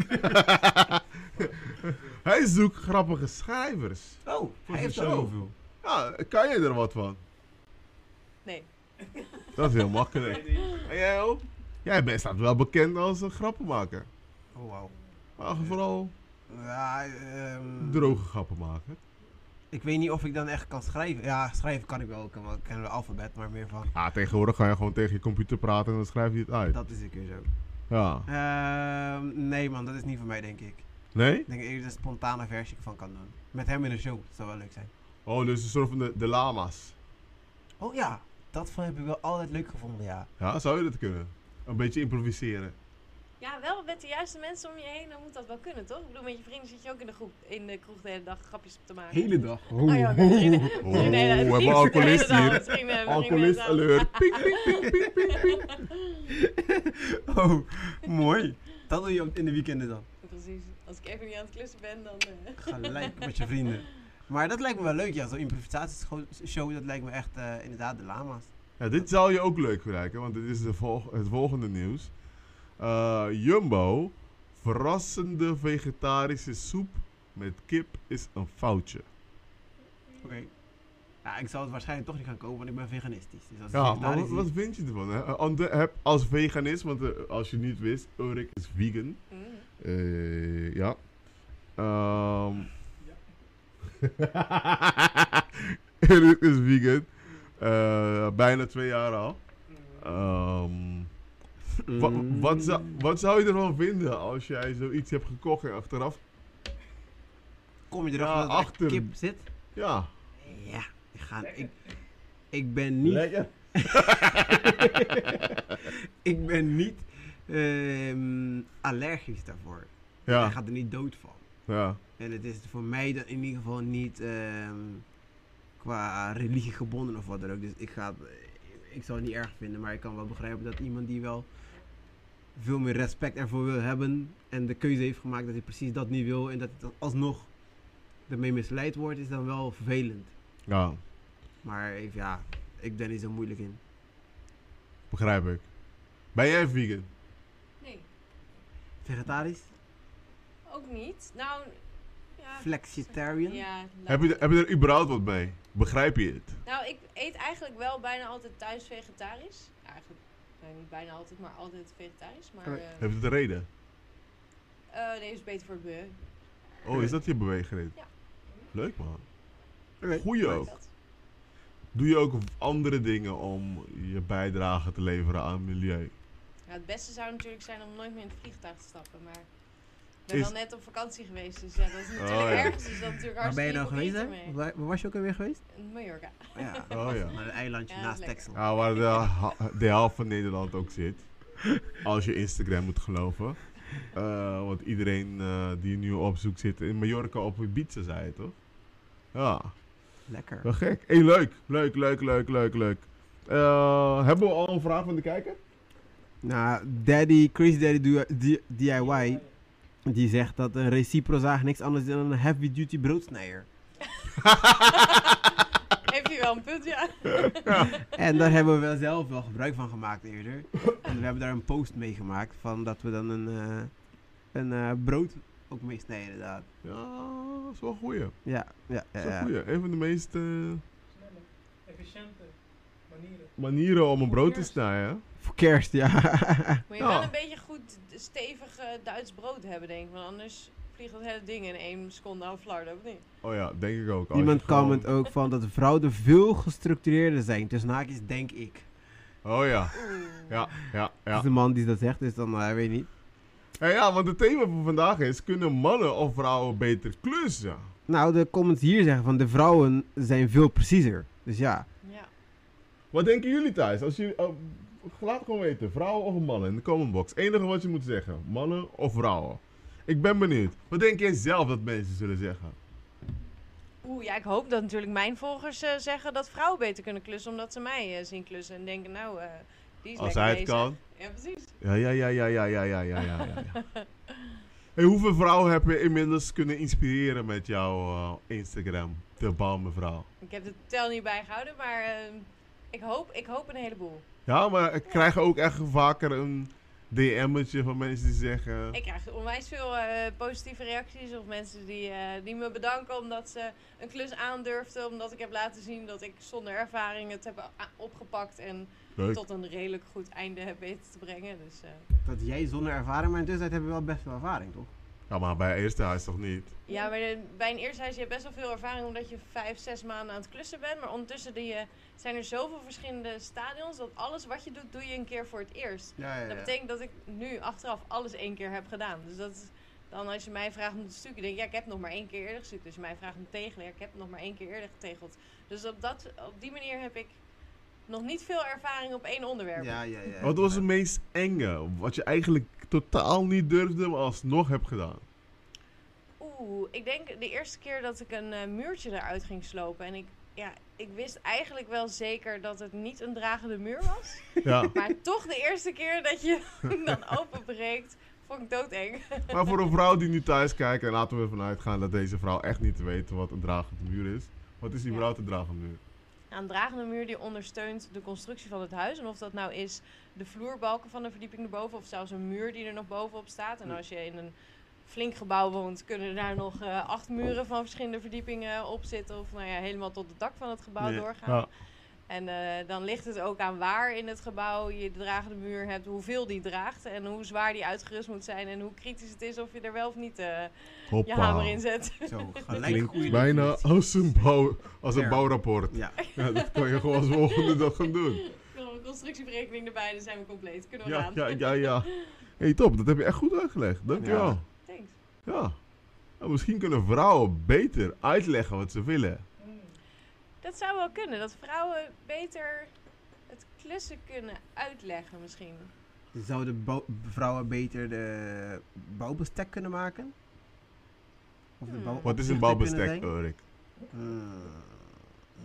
Speaker 3: Hij zoekt grappige schrijvers.
Speaker 5: Oh, hij heeft er
Speaker 3: show.
Speaker 5: zoveel.
Speaker 3: Ja, kan je er wat van?
Speaker 4: Nee.
Speaker 3: Dat is heel makkelijk. En jij ook? Jij bent staat wel bekend als een grappenmaker.
Speaker 5: Oh, wauw.
Speaker 3: Maar vooral
Speaker 5: Ja, ehm,
Speaker 3: droge grappen maken.
Speaker 5: Ik weet niet of ik dan echt kan schrijven. Ja, schrijven kan ik wel. Ik ken wel, ik ken wel alfabet, maar meer van.
Speaker 3: Ja, Ah, tegenwoordig ga je gewoon tegen je computer praten en dan schrijf je het uit.
Speaker 5: Dat is een keer zo.
Speaker 3: Ja.
Speaker 5: Ehm, nee, man, dat is niet voor mij, denk ik.
Speaker 3: Nee?
Speaker 5: Ik denk eerder een spontane versie van kan doen. Met hem in een show, dat zou wel leuk zijn.
Speaker 3: Oh, dus een soort van de, de lama's.
Speaker 5: Oh ja, dat van heb ik wel altijd leuk gevonden, ja.
Speaker 3: Ja, zou je dat kunnen? Een beetje improviseren.
Speaker 4: Ja, wel met de juiste mensen om je heen, dan moet dat wel kunnen, toch? Ik bedoel, met je vrienden zit je ook in de, groep, in de kroeg de hele dag grapjes op te maken.
Speaker 5: dag.
Speaker 4: Oh ja, met vrienden.
Speaker 3: Oh, we hebben
Speaker 4: vrienden-
Speaker 3: alcoholist
Speaker 4: vrienden-
Speaker 3: hier.
Speaker 4: vrienden- vrienden-
Speaker 3: Alcoholist
Speaker 4: vrienden-
Speaker 3: alert. Piek, piek, piek, piek, piek, piek.
Speaker 5: Oh, mooi. Dat doe je op- in de weekenden dan.
Speaker 4: Precies. Als ik even niet aan het klussen ben, dan... eh,
Speaker 5: Gelijk met je vrienden. Maar dat lijkt me wel leuk, ja. Zo'n improvisatieshow, dat lijkt me echt eh, inderdaad de lama's.
Speaker 3: Ja, dit zou je ook leuk lijken, want dit is de volg- het volgende nieuws. Eh, Jumbo, verrassende vegetarische soep met kip is een foutje.
Speaker 5: Oké. Ja, ik zal het waarschijnlijk toch niet gaan kopen, want ik ben veganistisch. Dus als het
Speaker 3: Ja, maar
Speaker 5: vegetarisch
Speaker 3: wat, wat
Speaker 5: is-
Speaker 3: vind je ervan? Hè? Eh, want, eh, heb- als veganist, want eh, als je niet wist, Ulrik is vegan.
Speaker 4: Mm.
Speaker 3: Eh, ja. Ehm. Ulrik is vegan. Eh, bijna twee jaar al. Ehm, wa-
Speaker 5: Mm.
Speaker 3: wat, zou, wat zou je ervan vinden als jij zoiets hebt gekocht en achteraf...
Speaker 5: Kom je erachter
Speaker 3: Ja,
Speaker 5: dat er echt
Speaker 3: achter.
Speaker 5: kip zit?
Speaker 3: Ja.
Speaker 5: Ja, ik, ga, ik, ik ben niet...
Speaker 3: Lekker.
Speaker 5: Ik ben niet ehm, allergisch daarvoor. Hij
Speaker 3: Ja,
Speaker 5: gaat er niet dood van.
Speaker 3: ja.
Speaker 5: En het is voor mij dan in ieder geval niet ehm, qua religie gebonden of wat dan ook. Dus ik, ga, het- ik zal het niet erg vinden, maar ik kan wel begrijpen dat iemand die wel veel meer respect ervoor wil hebben en de keuze heeft gemaakt dat hij precies dat niet wil en dat het dan alsnog daarmee misleid wordt, is dan wel vervelend.
Speaker 3: Ja,
Speaker 5: Maar ik- ja, ik ben niet zo moeilijk in.
Speaker 3: begrijp ik. Ben jij vegan?
Speaker 4: Nee,
Speaker 5: Vegetarisch?
Speaker 4: ook niet. Nou, ja.
Speaker 5: Flexitarian?
Speaker 4: Ja,
Speaker 3: Heb je, heb je er überhaupt wat mee? Begrijp je het?
Speaker 4: Nou, ik eet eigenlijk wel bijna altijd thuis vegetarisch. Eigenlijk, nou, niet bijna altijd, maar altijd vegetarisch. Maar
Speaker 5: Oké.
Speaker 4: eh,
Speaker 3: Heb je het een reden?
Speaker 4: eh, nee, is beter voor het milieu.
Speaker 3: Oh, is dat je beweegreden?
Speaker 4: Ja.
Speaker 3: Leuk man.
Speaker 5: Oké.
Speaker 3: Goeie ook.
Speaker 4: Dat.
Speaker 3: Doe je ook andere dingen om je bijdrage te leveren aan het milieu?
Speaker 4: Ja, het beste zou natuurlijk zijn om nooit meer in het vliegtuig te stappen, maar... Ik ben
Speaker 3: Is-
Speaker 4: wel net op vakantie geweest, dus ja, dat is natuurlijk
Speaker 3: Oh, ja.
Speaker 4: ergens. Dus dat is natuurlijk
Speaker 5: Waar ben je
Speaker 4: hartstikke
Speaker 5: nou geweest,
Speaker 4: beter
Speaker 5: hè?
Speaker 4: mee.
Speaker 5: Waar waar was je ook alweer geweest?
Speaker 4: In Mallorca.
Speaker 5: Ja,
Speaker 3: Oh ja.
Speaker 5: naar een eilandje
Speaker 4: Ja, dat is
Speaker 5: naast
Speaker 4: lekker.
Speaker 5: Texel.
Speaker 3: Ja, waar de, ha- de helft van Nederland ook zit. Als je Instagram moet geloven. Eh, want iedereen eh, die nu op zoek zit in Mallorca op Ibiza, zei je toch? Ja,
Speaker 5: Lekker.
Speaker 3: wel gek. Hé, leuk. Leuk, leuk, leuk, leuk, leuk. Eh, hebben we al een vraag van de kijker?
Speaker 5: Nou, Daddy, Chris Daddy Do- D- DIY, die zegt dat een reciprozaag niks anders is dan een heavy duty broodsnijder.
Speaker 4: Heeft hij wel een punt, ja.
Speaker 5: En daar hebben we wel zelf wel gebruik van gemaakt eerder. En we hebben daar een post mee gemaakt van dat we dan een, eh, een eh, brood ook mee snijden inderdaad.
Speaker 3: Ja, dat is wel een goeie.
Speaker 5: Ja, ja,
Speaker 3: Dat
Speaker 5: ja.
Speaker 3: is wel een goeie. Een van de meest eh,
Speaker 6: sneller, efficiënter manieren.
Speaker 3: manieren om een brood te
Speaker 6: Eerst.
Speaker 3: snijden.
Speaker 5: Voor kerst, ja.
Speaker 4: Moet je
Speaker 3: Ja.
Speaker 4: wel een beetje goed d- stevig eh, Duits brood hebben, denk ik. Want anders vliegt dat hele ding in één seconde aan flarden, of niet?
Speaker 3: Oh ja, denk ik ook. Als
Speaker 5: Iemand
Speaker 3: je gewoon-
Speaker 5: comment ook van dat vrouwen veel gestructureerder zijn. Tussen haakjes denk ik.
Speaker 3: Oh ja,
Speaker 4: Oeh.
Speaker 3: ja, ja,
Speaker 5: Dat
Speaker 3: ja.
Speaker 5: is de man die dat zegt, dus dan eh, weet je niet.
Speaker 3: Ja, ja, want het thema voor vandaag is: kunnen mannen of vrouwen beter klussen?
Speaker 5: Nou, de comments hier zeggen van de vrouwen zijn veel preciezer. Dus ja.
Speaker 4: Ja.
Speaker 3: Wat denken jullie thuis? Als jullie, eh, laat gewoon weten: vrouwen of mannen in de commentbox. Enige wat je moet zeggen: mannen of vrouwen. Ik ben benieuwd. Wat denk jij zelf dat mensen zullen zeggen?
Speaker 4: Oeh, ja, ik hoop dat natuurlijk mijn volgers eh, zeggen dat vrouwen beter kunnen klussen, omdat ze mij eh, zien klussen en denken, nou, eh, die is
Speaker 3: Als
Speaker 4: lekker
Speaker 3: hij het
Speaker 4: bezig.
Speaker 3: kan.
Speaker 4: Ja, precies.
Speaker 3: Ja, ja, ja, ja, ja, ja, ja, ja, ja. ja, ja. Hey, hoeveel vrouwen heb je inmiddels kunnen inspireren met jouw eh, Instagram? De Balmevrouw.
Speaker 4: Ik heb de tel niet bijgehouden, maar eh, ik, hoop, ik hoop een heleboel.
Speaker 3: Ja, maar ik krijg ook echt vaker een DM'tje van mensen die zeggen.
Speaker 4: Ik krijg onwijs veel eh, positieve reacties of mensen die, eh, die me bedanken omdat ze een klus aandurfden, omdat ik heb laten zien dat ik zonder ervaring het heb a- opgepakt en
Speaker 3: Leuk.
Speaker 4: tot een redelijk goed einde heb weten te brengen. Dus eh,
Speaker 5: Dat jij zonder ervaring, maar in de tussentijd hebben we wel best wel ervaring, toch?
Speaker 3: Ja, maar bij eerste huis toch niet?
Speaker 4: ja, maar de- bij een eerste huis je hebt best wel veel ervaring omdat je vijf, zes maanden aan het klussen bent. Maar ondertussen die, eh, zijn er zoveel verschillende stadions dat alles wat je doet, doe je een keer voor het eerst.
Speaker 5: Ja, ja,
Speaker 4: Dat betekent dat ik nu achteraf alles één keer heb gedaan. Dus dat is dan als je mij vraagt om te stukken, denk ik, ja, ik heb nog maar één keer eerder gestuukt. Dus je mij vraagt om te tegelen, ja, ik heb nog maar één keer eerder getegeld. Dus op, dat, op die manier heb ik nog niet veel ervaring op één onderwerp.
Speaker 5: ja, ja,
Speaker 4: Eh,
Speaker 5: ja.
Speaker 3: Wat was het meest enge? Wat je eigenlijk totaal niet durfde, maar alsnog hebt gedaan?
Speaker 4: Oeh, ik denk de eerste keer dat ik een eh, muurtje eruit ging slopen en ik... Ja, ik wist eigenlijk wel zeker dat het niet een dragende muur was.
Speaker 3: Ja,
Speaker 4: Maar toch de eerste keer dat je hem dan openbreekt vond ik doodeng.
Speaker 3: Maar voor een vrouw die nu thuis kijkt, en laten we ervan uitgaan dat deze vrouw echt niet weet wat een dragende muur is. Wat is die
Speaker 4: Ja.
Speaker 3: überhaupt een dragende muur?
Speaker 4: Een dragende muur die ondersteunt de constructie van het huis. En of dat nou is de vloerbalken van de verdieping erboven of zelfs een muur die er nog bovenop staat. En als je in een flink gebouw woont, kunnen daar nog eh, acht muren van verschillende verdiepingen op zitten. Of nou ja, helemaal tot het dak van het gebouw
Speaker 5: Ja.
Speaker 4: doorgaan. En eh, dan ligt het ook aan waar in het gebouw je de dragende muur hebt, hoeveel die draagt en hoe zwaar die uitgerust moet zijn en hoe kritisch het is of je er wel of niet eh, je hamer in zet.
Speaker 5: Zo, gelijk
Speaker 3: Klinkt
Speaker 5: goeie
Speaker 3: bijna
Speaker 5: definitie.
Speaker 3: als een, bouw, als een
Speaker 5: Ja.
Speaker 3: bouwrapport.
Speaker 5: Ja,
Speaker 3: Ja, dat kan je gewoon als volgende dag gaan doen.
Speaker 4: Nog een constructieberekening erbij, dan zijn we compleet. Kunnen we
Speaker 3: Ja,
Speaker 4: gaan.
Speaker 3: ja, ja, ja. hey, top, dat heb je echt goed uitgelegd. Dankjewel. Ja.
Speaker 5: Ja.
Speaker 4: Thanks.
Speaker 3: Nou, misschien kunnen vrouwen beter uitleggen wat ze willen.
Speaker 4: Dat zou wel kunnen, dat vrouwen beter het klussen kunnen uitleggen misschien.
Speaker 5: Zouden bou- vrouwen beter de bouwbestek kunnen maken? Of de
Speaker 4: Hmm.
Speaker 5: bouw-
Speaker 3: Wat is een
Speaker 5: opzichter kunnen
Speaker 3: bouwbestek,
Speaker 5: zijn?
Speaker 3: Erik?
Speaker 5: Hmm,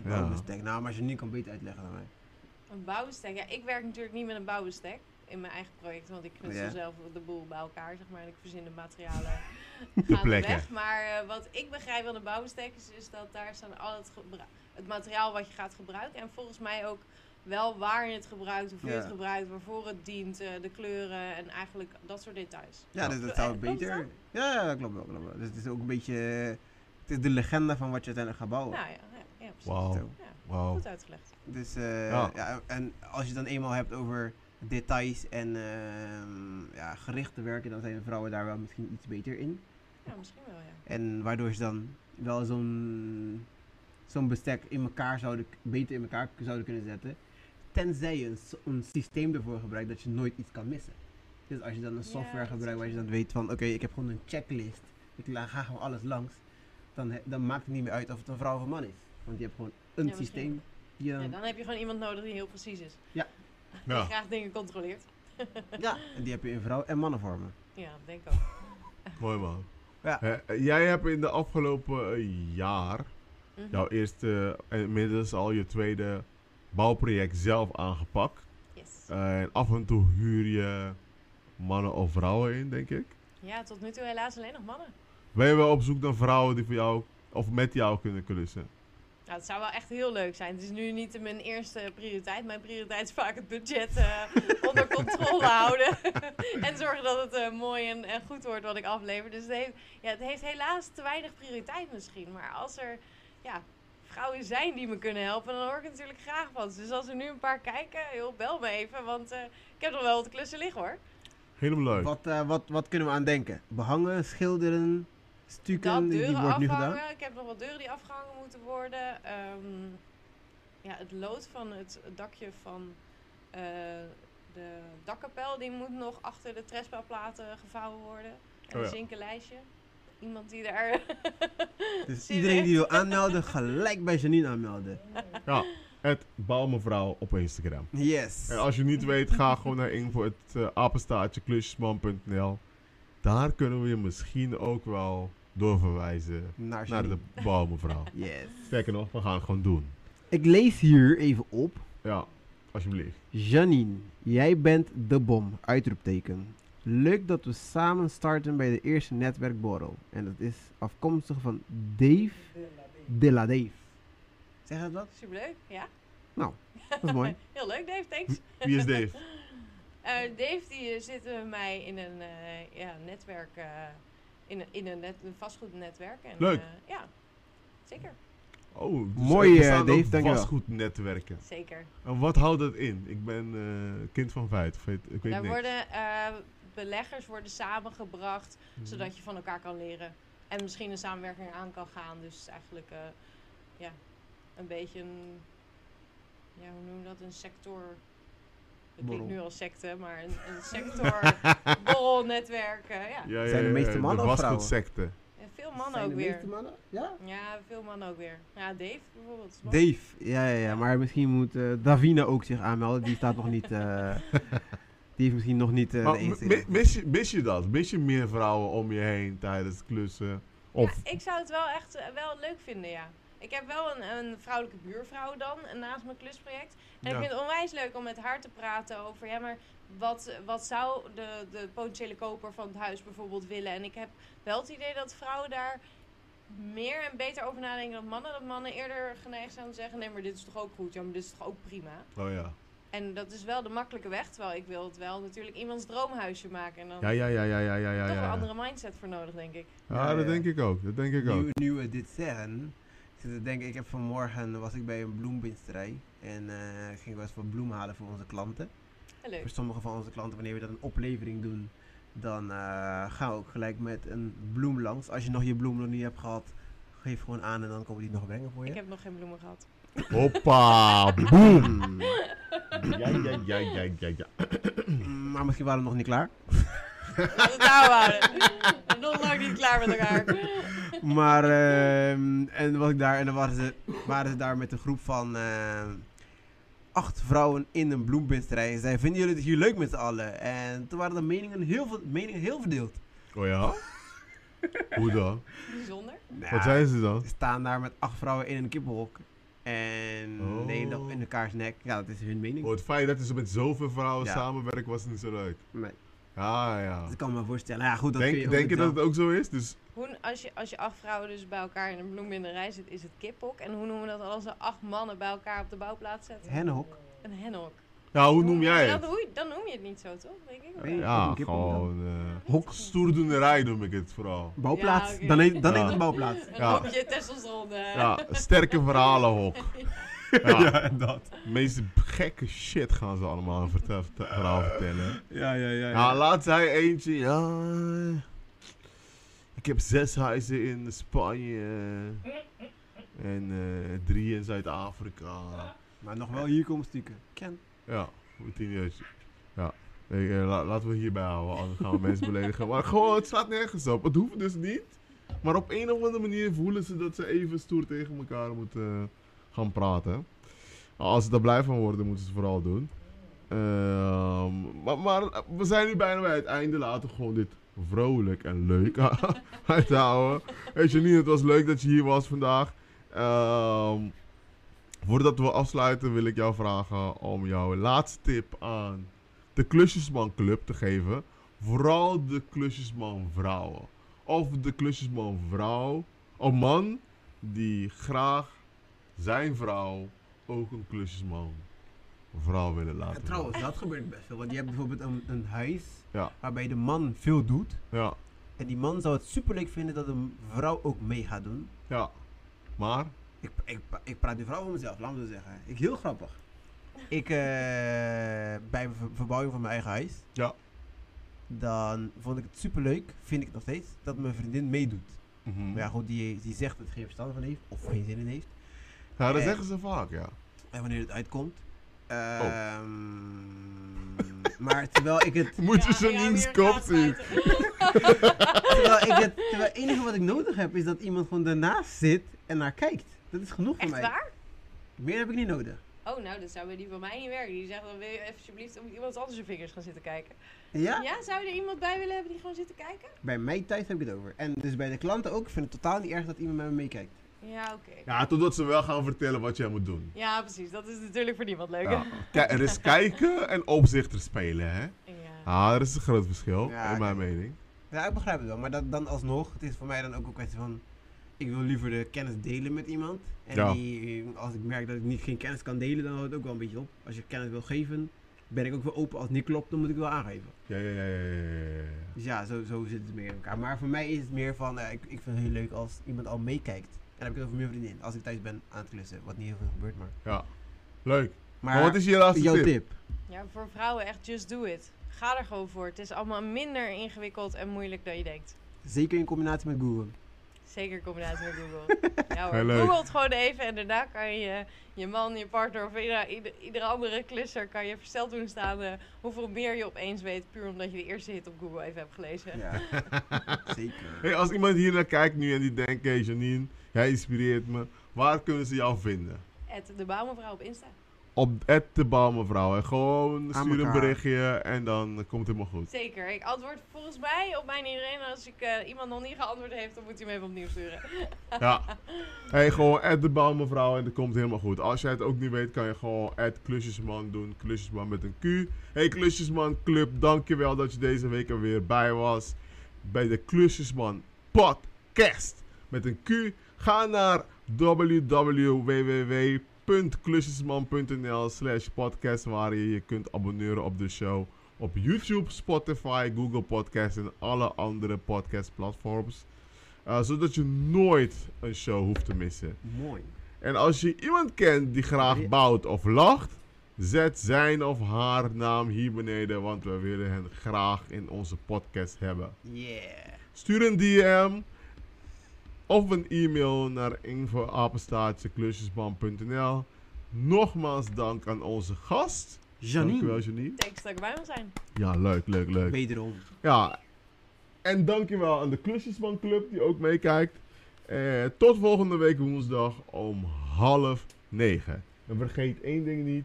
Speaker 3: Ja.
Speaker 5: Bouwbestek. Nou, maar als je nu kan beter uitleggen dan mij.
Speaker 4: Een bouwbestek, ja, ik werk natuurlijk niet met een bouwbestek in mijn eigen project, want ik knutsel
Speaker 5: Ja.
Speaker 4: zelf de boel bij elkaar, zeg maar, en ik verzin de materialen
Speaker 3: De plekken.
Speaker 4: gaandeweg. Maar eh, wat ik begrijp van de bouwbestek is, is dat daar staan al het, gebru- het materiaal wat je gaat gebruiken en volgens mij ook wel waar je het gebruikt, hoeveel je
Speaker 5: Ja.
Speaker 4: het gebruikt, waarvoor het dient, eh, de kleuren en eigenlijk dat soort details.
Speaker 5: Ja, dus dat zou
Speaker 4: Eh, klopt
Speaker 5: beter. Ja, ja, klopt wel, klopt wel. Dus het is ook een beetje. Het is de legende van wat je uiteindelijk gaat bouwen.
Speaker 4: Nou ja, ja, ja, precies.
Speaker 3: Wauw,
Speaker 5: Zo.
Speaker 4: Ja,
Speaker 3: wauw.
Speaker 4: goed uitgelegd.
Speaker 5: Dus eh,
Speaker 3: Oh. Ja.
Speaker 5: ja. en als je het dan eenmaal hebt over details en ehm, ja, gerichte werken, dan zijn de vrouwen daar wel misschien iets beter in.
Speaker 4: Ja, misschien wel, ja.
Speaker 5: En waardoor ze dan wel zo'n zo'n bestek in elkaar zouden, k- beter in elkaar k- zouden kunnen zetten. Tenzij je een, s- een systeem ervoor gebruikt dat je nooit iets kan missen. Dus als je dan een
Speaker 4: Ja,
Speaker 5: software
Speaker 4: dat is
Speaker 5: gebruikt waar je
Speaker 4: waar.
Speaker 5: dan weet van oké, ik heb gewoon een checklist. Ik la- ga gewoon alles langs. Dan, he- dan maakt het niet meer uit of het een vrouw of een man is. Want je hebt gewoon een
Speaker 4: Ja, misschien
Speaker 5: systeem. die je
Speaker 4: Ja,
Speaker 5: dan-
Speaker 4: dan heb je gewoon iemand nodig die heel precies is. Die
Speaker 3: Ja,
Speaker 4: graag dingen controleert.
Speaker 5: Ja, en die heb je in vrouw- en mannenvormen.
Speaker 4: Ja, dat denk ik ook.
Speaker 3: mooi man.
Speaker 5: Ja.
Speaker 3: Hè, eh, jij hebt in de afgelopen eh, jaar
Speaker 4: Mhm.
Speaker 3: jouw eerste, en inmiddels al je tweede bouwproject zelf aangepakt.
Speaker 4: Yes.
Speaker 3: Eh, en af en toe huur je mannen of vrouwen in, denk ik.
Speaker 4: Ja, tot nu toe helaas alleen nog mannen.
Speaker 3: Ben je wel op zoek naar vrouwen die voor jou of met jou kunnen klussen?
Speaker 4: Nou, het zou wel echt heel leuk zijn. Het is nu niet mijn eerste prioriteit. Mijn prioriteit is vaak het budget eh, onder controle houden. en zorgen dat het eh, mooi en, en goed wordt wat ik aflever. Dus het heeft, ja, het heeft helaas te weinig prioriteit misschien. Maar als er ja, vrouwen zijn die me kunnen helpen, dan hoor ik er natuurlijk graag van. ze. Dus als er nu een paar kijken, joh, bel me even. Want eh, ik heb nog wel wat klussen liggen hoor.
Speaker 3: Helemaal leuk.
Speaker 5: Wat, eh, wat, wat kunnen we aan denken? Behangen, schilderen, stukken, die, die wordt nu gedaan.
Speaker 4: Ik heb nog wat deuren die afgehangen moeten worden. Ehm, ja, het lood van het dakje van eh, de dakkapel, die moet nog achter de trespaplaten gevouwen worden. En
Speaker 3: Oh
Speaker 4: een
Speaker 3: ja.
Speaker 4: zinkenlijstje. Iemand die daar...
Speaker 5: Dus
Speaker 4: Zin
Speaker 5: iedereen
Speaker 4: in.
Speaker 5: die wil aanmelden, gelijk bij Janine aanmelden.
Speaker 3: Ja, het Bouwmevrouw op Instagram.
Speaker 5: Yes.
Speaker 3: En als je niet weet, ga gewoon naar info het eh, apenstaartje klusjesman.nl. Daar kunnen we je misschien ook wel doorverwijzen
Speaker 5: Naar
Speaker 3: naar
Speaker 5: Janine.
Speaker 3: de Bouwmevrouw.
Speaker 5: Yes.
Speaker 3: Sterker nog, we gaan het gewoon doen.
Speaker 5: Ik lees hier even op.
Speaker 3: Ja, alsjeblieft.
Speaker 5: Janine, jij bent de bom. Uitroepteken. Leuk dat we samen starten bij de eerste netwerkborrel. En dat is afkomstig van Dave de la Dave. Zeg dat wat? Nou,
Speaker 4: Superleuk, ja.
Speaker 5: Dat is mooi.
Speaker 4: Heel leuk Dave, thanks.
Speaker 3: Wie is Dave?
Speaker 4: Eh, Dave die eh, zit met mij in een eh, ja, netwerk, eh, in, een- in een, net, een vastgoednetwerk. En,
Speaker 3: Leuk.
Speaker 4: eh, ja, zeker,
Speaker 3: Oh,
Speaker 5: Mooi,
Speaker 3: er
Speaker 5: eh,
Speaker 3: bestaan ook
Speaker 5: Dave, dankjewel.
Speaker 3: vastgoednetwerken.
Speaker 4: zeker.
Speaker 3: En wat houdt dat in? Ik ben eh, kind van vijf. Ik weet, ik weet
Speaker 4: Daar
Speaker 3: niks.
Speaker 4: worden eh, beleggers worden samengebracht, zodat je van elkaar kan leren. En misschien een samenwerking aan kan gaan. Dus eigenlijk eh, ja, een beetje een, ja, hoe noem je dat? Een sector. Het klinkt
Speaker 5: Borrel.
Speaker 4: nu als secte, maar een, een sector borrelnetwerk. eh, ja.
Speaker 3: Ja, ja,
Speaker 5: Zijn de
Speaker 3: ja,
Speaker 5: meeste
Speaker 3: ja,
Speaker 5: mannen
Speaker 3: De
Speaker 5: of vrouwen?
Speaker 3: vastgoedsecte.
Speaker 4: En veel mannen
Speaker 5: Zijn
Speaker 4: ook
Speaker 5: de
Speaker 4: weer.
Speaker 5: meeste mannen? Ja?
Speaker 4: Ja, veel mannen ook weer. Ja, Dave bijvoorbeeld. is man.
Speaker 5: Dave, ja, ja, ja. Maar misschien moet eh, Davina ook zich aanmelden. Die staat nog niet. eh, die heeft misschien nog niet. eh,
Speaker 3: Maar
Speaker 5: de eerste-
Speaker 3: mi- mis, je, mis je dat? Mis je meer vrouwen om je heen tijdens klussen? Of
Speaker 4: Ja, ik zou het wel echt eh, wel leuk vinden, ja. Ik heb wel een, een vrouwelijke buurvrouw dan, eh, naast mijn klusproject. En
Speaker 3: Ja.
Speaker 4: ik vind het onwijs leuk om met haar te praten over, ja, maar wat, wat zou de, de potentiële koper van het huis bijvoorbeeld willen? En ik heb wel het idee dat vrouwen daar meer en beter over nadenken dan mannen. Dat mannen eerder geneigd zijn om te zeggen, nee, maar dit is toch ook goed, ja, maar dit is toch ook prima.
Speaker 3: Oh ja.
Speaker 4: En dat is wel de makkelijke weg, terwijl ik wil het wel natuurlijk iemands droomhuisje maken. En dan
Speaker 3: Ja, ja, ja, ja, ja, ja, ja.
Speaker 4: toch een
Speaker 3: ja.
Speaker 4: andere mindset voor nodig, denk ik.
Speaker 3: Ja, dat
Speaker 5: Ja, ja.
Speaker 3: denk ik ook. Dat denk ik ook.
Speaker 5: Nu, nu we dit zeggen, ik zit te denken, ik heb vanmorgen was ik bij een bloembinsterij en eh, ging ik wel eens wat bloem halen voor onze klanten.
Speaker 4: Ja, leuk.
Speaker 5: Voor sommige van onze klanten, wanneer we dan een oplevering doen, dan eh, gaan we ook gelijk met een bloem langs. Als je nog je bloem nog niet hebt gehad, geef gewoon aan en dan komen die het nog brengen voor je.
Speaker 4: Ik heb nog geen bloemen gehad.
Speaker 3: Hoppa, boom. Ja, ja, ja, ja, ja, ja.
Speaker 5: Mm, Maar misschien waren we nog niet klaar.
Speaker 4: Laten we het nou houden. Nog lang niet klaar met elkaar.
Speaker 5: Maar, ehm, en dan was ik daar en dan waren ze, waren ze daar met een groep van ehm, acht vrouwen in een bloembinsterij. En zeiden, vinden jullie het hier leuk met z'n allen? En toen waren de meningen heel, ver- meningen heel verdeeld.
Speaker 3: Oh ja? Hoe dan?
Speaker 4: Bijzonder.
Speaker 5: Nou,
Speaker 3: Wat zijn ze dan?
Speaker 5: Ze staan daar met acht vrouwen in een kippenhok. En
Speaker 3: Oh.
Speaker 5: de hele dag in elkaars nek. Ja, dat is hun mening.
Speaker 3: Oh, het feit dat ze met zoveel vrouwen
Speaker 5: Ja.
Speaker 3: samenwerken was niet zo leuk.
Speaker 5: Nee,
Speaker 3: Ja, ja.
Speaker 5: dat kan ik me voorstellen. Ja, goed, dat kun je
Speaker 3: Denk,
Speaker 5: ook
Speaker 3: denk je
Speaker 5: niet
Speaker 3: dat het
Speaker 5: zelf-
Speaker 3: ook zo is? Dus,
Speaker 4: Hoe, als, je, als je acht vrouwen dus bij elkaar in een bloemenrij zit, is het kiphok. En hoe noemen we dat als we acht mannen bij elkaar op de bouwplaats zetten?
Speaker 5: Henhok?
Speaker 4: Een henhok.
Speaker 3: ja, hoe noem jij
Speaker 4: dat,
Speaker 3: het?
Speaker 4: hoe, Dan noem je het niet zo, toch? Denk ik.
Speaker 5: Nee.
Speaker 4: Ja.
Speaker 5: Een
Speaker 3: Ja,
Speaker 5: kippen dan?
Speaker 3: gewoon eh hokstoerdoenerij noem ik het vooral.
Speaker 5: Bouwplaats.
Speaker 4: Ja, oké.
Speaker 5: Dan heet, dan
Speaker 3: Ja.
Speaker 5: heet het bouwplaats.
Speaker 4: Een
Speaker 3: Ja.
Speaker 4: hokje testosteron. eh.
Speaker 3: Ja, sterke verhalenhok. Ja,
Speaker 5: dat.
Speaker 3: de meeste gekke shit gaan ze allemaal een vertel- vertel- verhaal vertellen.
Speaker 5: Ja, ja, ja.
Speaker 3: Ja, laat hij eentje. Ja, ik heb zes huizen in Spanje. En eh, drie in Zuid-Afrika.
Speaker 5: Maar nog wel hier komen stukken. Ken.
Speaker 3: Ja, goed serieus. Ja. Nee, eh, la- laten we het hierbij houden, anders gaan we mensen beledigen. Maar gewoon, het staat nergens op. Het hoeft dus niet. Maar op een of andere manier voelen ze dat ze even stoer tegen elkaar moeten eh, gaan praten. Als ze daar blij van worden, moeten ze het vooral doen. Ehm, maar, maar we zijn nu bijna bij het einde. Laten we gewoon dit vrolijk en leuk uithouden. Weet je niet, het was leuk dat je hier was vandaag. Ehm, voordat we afsluiten wil ik jou vragen om jouw laatste tip aan de Klusjesman Club te geven. Vooral de Klusjesman vrouwen. Of de Klusjesman vrouw. Een man die graag zijn vrouw ook een Klusjesman vrouw willen laten
Speaker 5: En
Speaker 3: worden.
Speaker 5: trouwens, dat gebeurt best veel. Want je hebt bijvoorbeeld een, een huis
Speaker 3: Ja.
Speaker 5: waarbij de man veel doet.
Speaker 3: Ja,
Speaker 5: En die man zou het superleuk vinden dat een vrouw ook mee gaat doen.
Speaker 3: ja. Maar,
Speaker 5: Ik, ik, ik praat nu vooral voor mezelf, laat me zo zeggen. Ik heel grappig. Ik, eh, bij ver- verbouwing van mijn eigen huis.
Speaker 3: Ja.
Speaker 5: Dan vond ik het superleuk, vind ik het nog steeds, dat mijn vriendin meedoet.
Speaker 3: mhm.
Speaker 5: Maar ja, goed, die, die zegt dat het geen verstand van heeft, of geen zin in heeft.
Speaker 3: Ja, dat
Speaker 5: Eh.
Speaker 3: zeggen ze vaak, ja.
Speaker 5: En wanneer het uitkomt. Ehm, Maar terwijl ik het
Speaker 3: Moet je
Speaker 4: Ja,
Speaker 3: ze
Speaker 4: ja,
Speaker 3: niet
Speaker 4: weer
Speaker 3: eens kop zien.
Speaker 4: gaasbuiten.
Speaker 5: Terwijl ik het terwijl het enige wat ik nodig heb is dat iemand gewoon daarnaast zit en naar kijkt. Dat is genoeg voor
Speaker 4: Echt
Speaker 5: mij.
Speaker 4: waar?
Speaker 5: Meer heb ik niet nodig.
Speaker 4: Oh, nou, dat zou bij die van mij niet werken. Die zegt dan wil je even alsjeblieft om iemand anders je vingers gaan zitten kijken.
Speaker 5: Ja?
Speaker 4: Ja, zou je er iemand bij willen hebben die gewoon zit te kijken?
Speaker 5: Bij mij thuis heb ik het over. En dus bij de klanten ook. Ik vind het totaal niet erg dat iemand met me meekijkt.
Speaker 4: Ja, oké.
Speaker 3: Ja, totdat ze wel gaan vertellen wat jij moet doen.
Speaker 4: Ja, precies. Dat is natuurlijk voor niemand leuk.
Speaker 3: Ja.
Speaker 4: Ja.
Speaker 3: Kijk, er is kijken en opzichter spelen, hè.
Speaker 4: Ja.
Speaker 3: Ah, er is een groot verschil,
Speaker 5: Ja,
Speaker 3: in mijn
Speaker 5: oké.
Speaker 3: mening.
Speaker 5: Ja, ik begrijp het wel. Maar dat, dan alsnog, het is voor mij dan ook een kwestie van... Ik wil liever de kennis delen met iemand. En
Speaker 3: Ja.
Speaker 5: die, eh, als ik merk dat ik niet, geen kennis kan delen, dan houdt het ook wel een beetje op. Als je kennis wil geven, ben ik ook wel open. Als het niet klopt, dan moet ik wel aangeven.
Speaker 3: Ja, ja, ja, ja, ja, ja, ja.
Speaker 5: Dus ja, zo, zo zit het meer in elkaar. Maar voor mij is het meer van, eh, ik, ik vind het heel leuk als iemand al meekijkt. En dan heb ik het over mijn vriendin, als ik thuis ben aan het klussen. Wat niet heel veel gebeurt, maar...
Speaker 3: Leuk. Maar,
Speaker 5: Maar
Speaker 3: wat is je laatste
Speaker 5: jouw
Speaker 3: tip?
Speaker 5: tip?
Speaker 4: ja, voor vrouwen echt just do it. Ga er gewoon voor. Het is allemaal minder ingewikkeld en moeilijk dan je denkt.
Speaker 5: Zeker in combinatie met Google.
Speaker 4: Zeker in combinatie met Google. Ja
Speaker 3: Heel
Speaker 4: hoor,
Speaker 3: leuk.
Speaker 4: Google het gewoon even en daarna kan je je man, je partner of ieder, ieder, iedere andere klusser kan je versteld doen staan eh, hoeveel meer je opeens weet, puur omdat je de eerste hit op Google even hebt gelezen.
Speaker 5: Ja, zeker.
Speaker 3: Hey, als iemand hier naar kijkt nu en die denkt, hey Janine, jij inspireert me. Waar kunnen ze jou vinden?
Speaker 4: Het de bouwmevrouw op Insta.
Speaker 3: op het de mevrouw. En gewoon
Speaker 5: Aan
Speaker 3: stuur een
Speaker 5: elkaar.
Speaker 3: berichtje en dan komt het helemaal goed.
Speaker 4: Zeker. Ik antwoord volgens mij op mijn iedereen. Als ik eh, iemand nog niet geantwoord heeft, dan moet hij me even opnieuw sturen.
Speaker 3: Ja. Hey, gewoon at de bouwmevrouw en dat komt helemaal goed. Als jij het ook niet weet, kan je gewoon at klusjesman doen. Klusjesman met een Q. Hey klusjesman club, dankjewel dat je deze week er weer bij was. Bij de klusjesman podcast met een Q. Ga naar www.klusjesman.nl slash podcast waar je je kunt abonneren op de show. Op YouTube, Spotify, Google Podcasts en alle andere podcast platforms. Uh, zodat je nooit een show hoeft te missen.
Speaker 5: Mooi.
Speaker 3: En als je iemand kent die graag bouwt of lacht, zet zijn of haar naam hier beneden, want we willen hen graag in onze podcast hebben.
Speaker 5: Yeah.
Speaker 3: Stuur een DM of een e-mail naar infoapenstaartjeklusjesman.nl. Nogmaals dank aan onze gast. Dankjewel
Speaker 5: Janine.
Speaker 3: Janine.
Speaker 4: Thanks dat ik bij me zijn.
Speaker 3: Ja, leuk, leuk, leuk.
Speaker 5: Wederom.
Speaker 3: Ja, en dankjewel aan de Klusjesman Club die ook meekijkt. Eh, tot volgende week woensdag om half negen. En vergeet één ding niet.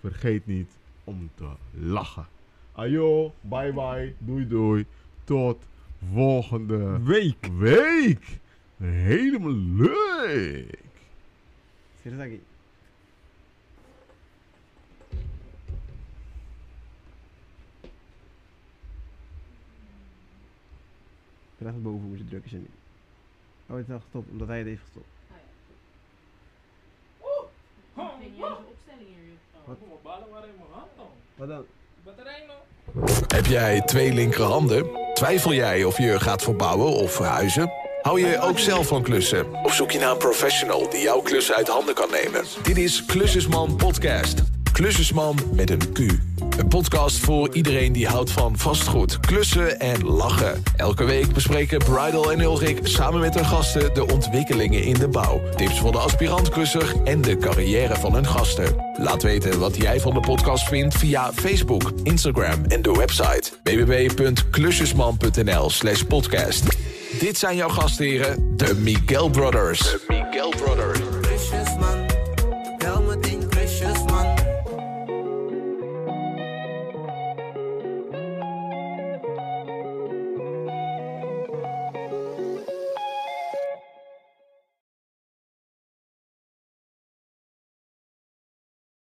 Speaker 3: Vergeet niet om te lachen. Ajo, bye bye, doei doei. Tot volgende
Speaker 5: Week.
Speaker 3: week. Helemaal leuk.
Speaker 5: Sirasaki. Ik ben even boven moeten drukken, Janine. Oh, het is al gestopt, omdat hij het heeft gestopt.
Speaker 6: Wat? Mijn balen waren in mijn hand dan.
Speaker 5: Wat dan?
Speaker 6: Batterij nog.
Speaker 1: Heb jij twee linkerhanden? Twijfel jij of je gaat verbouwen of verhuizen? Hou je ook zelf van klussen? Of zoek je naar een professional die jouw klussen uit handen kan nemen? Dit is Klusjesman Podcast. Klusjesman met een Q. Een podcast voor iedereen die houdt van vastgoed, klussen en lachen. Elke week bespreken Bridal en Ulrik samen met hun gasten de ontwikkelingen in de bouw. Tips voor de aspirantklusser en de carrière van hun gasten. Laat weten wat jij van de podcast vindt via Facebook, Instagram en de website www.klusjesman.nl slash podcast. Dit zijn jouw gastheren, de Miguel Brothers. De Miguel Brothers.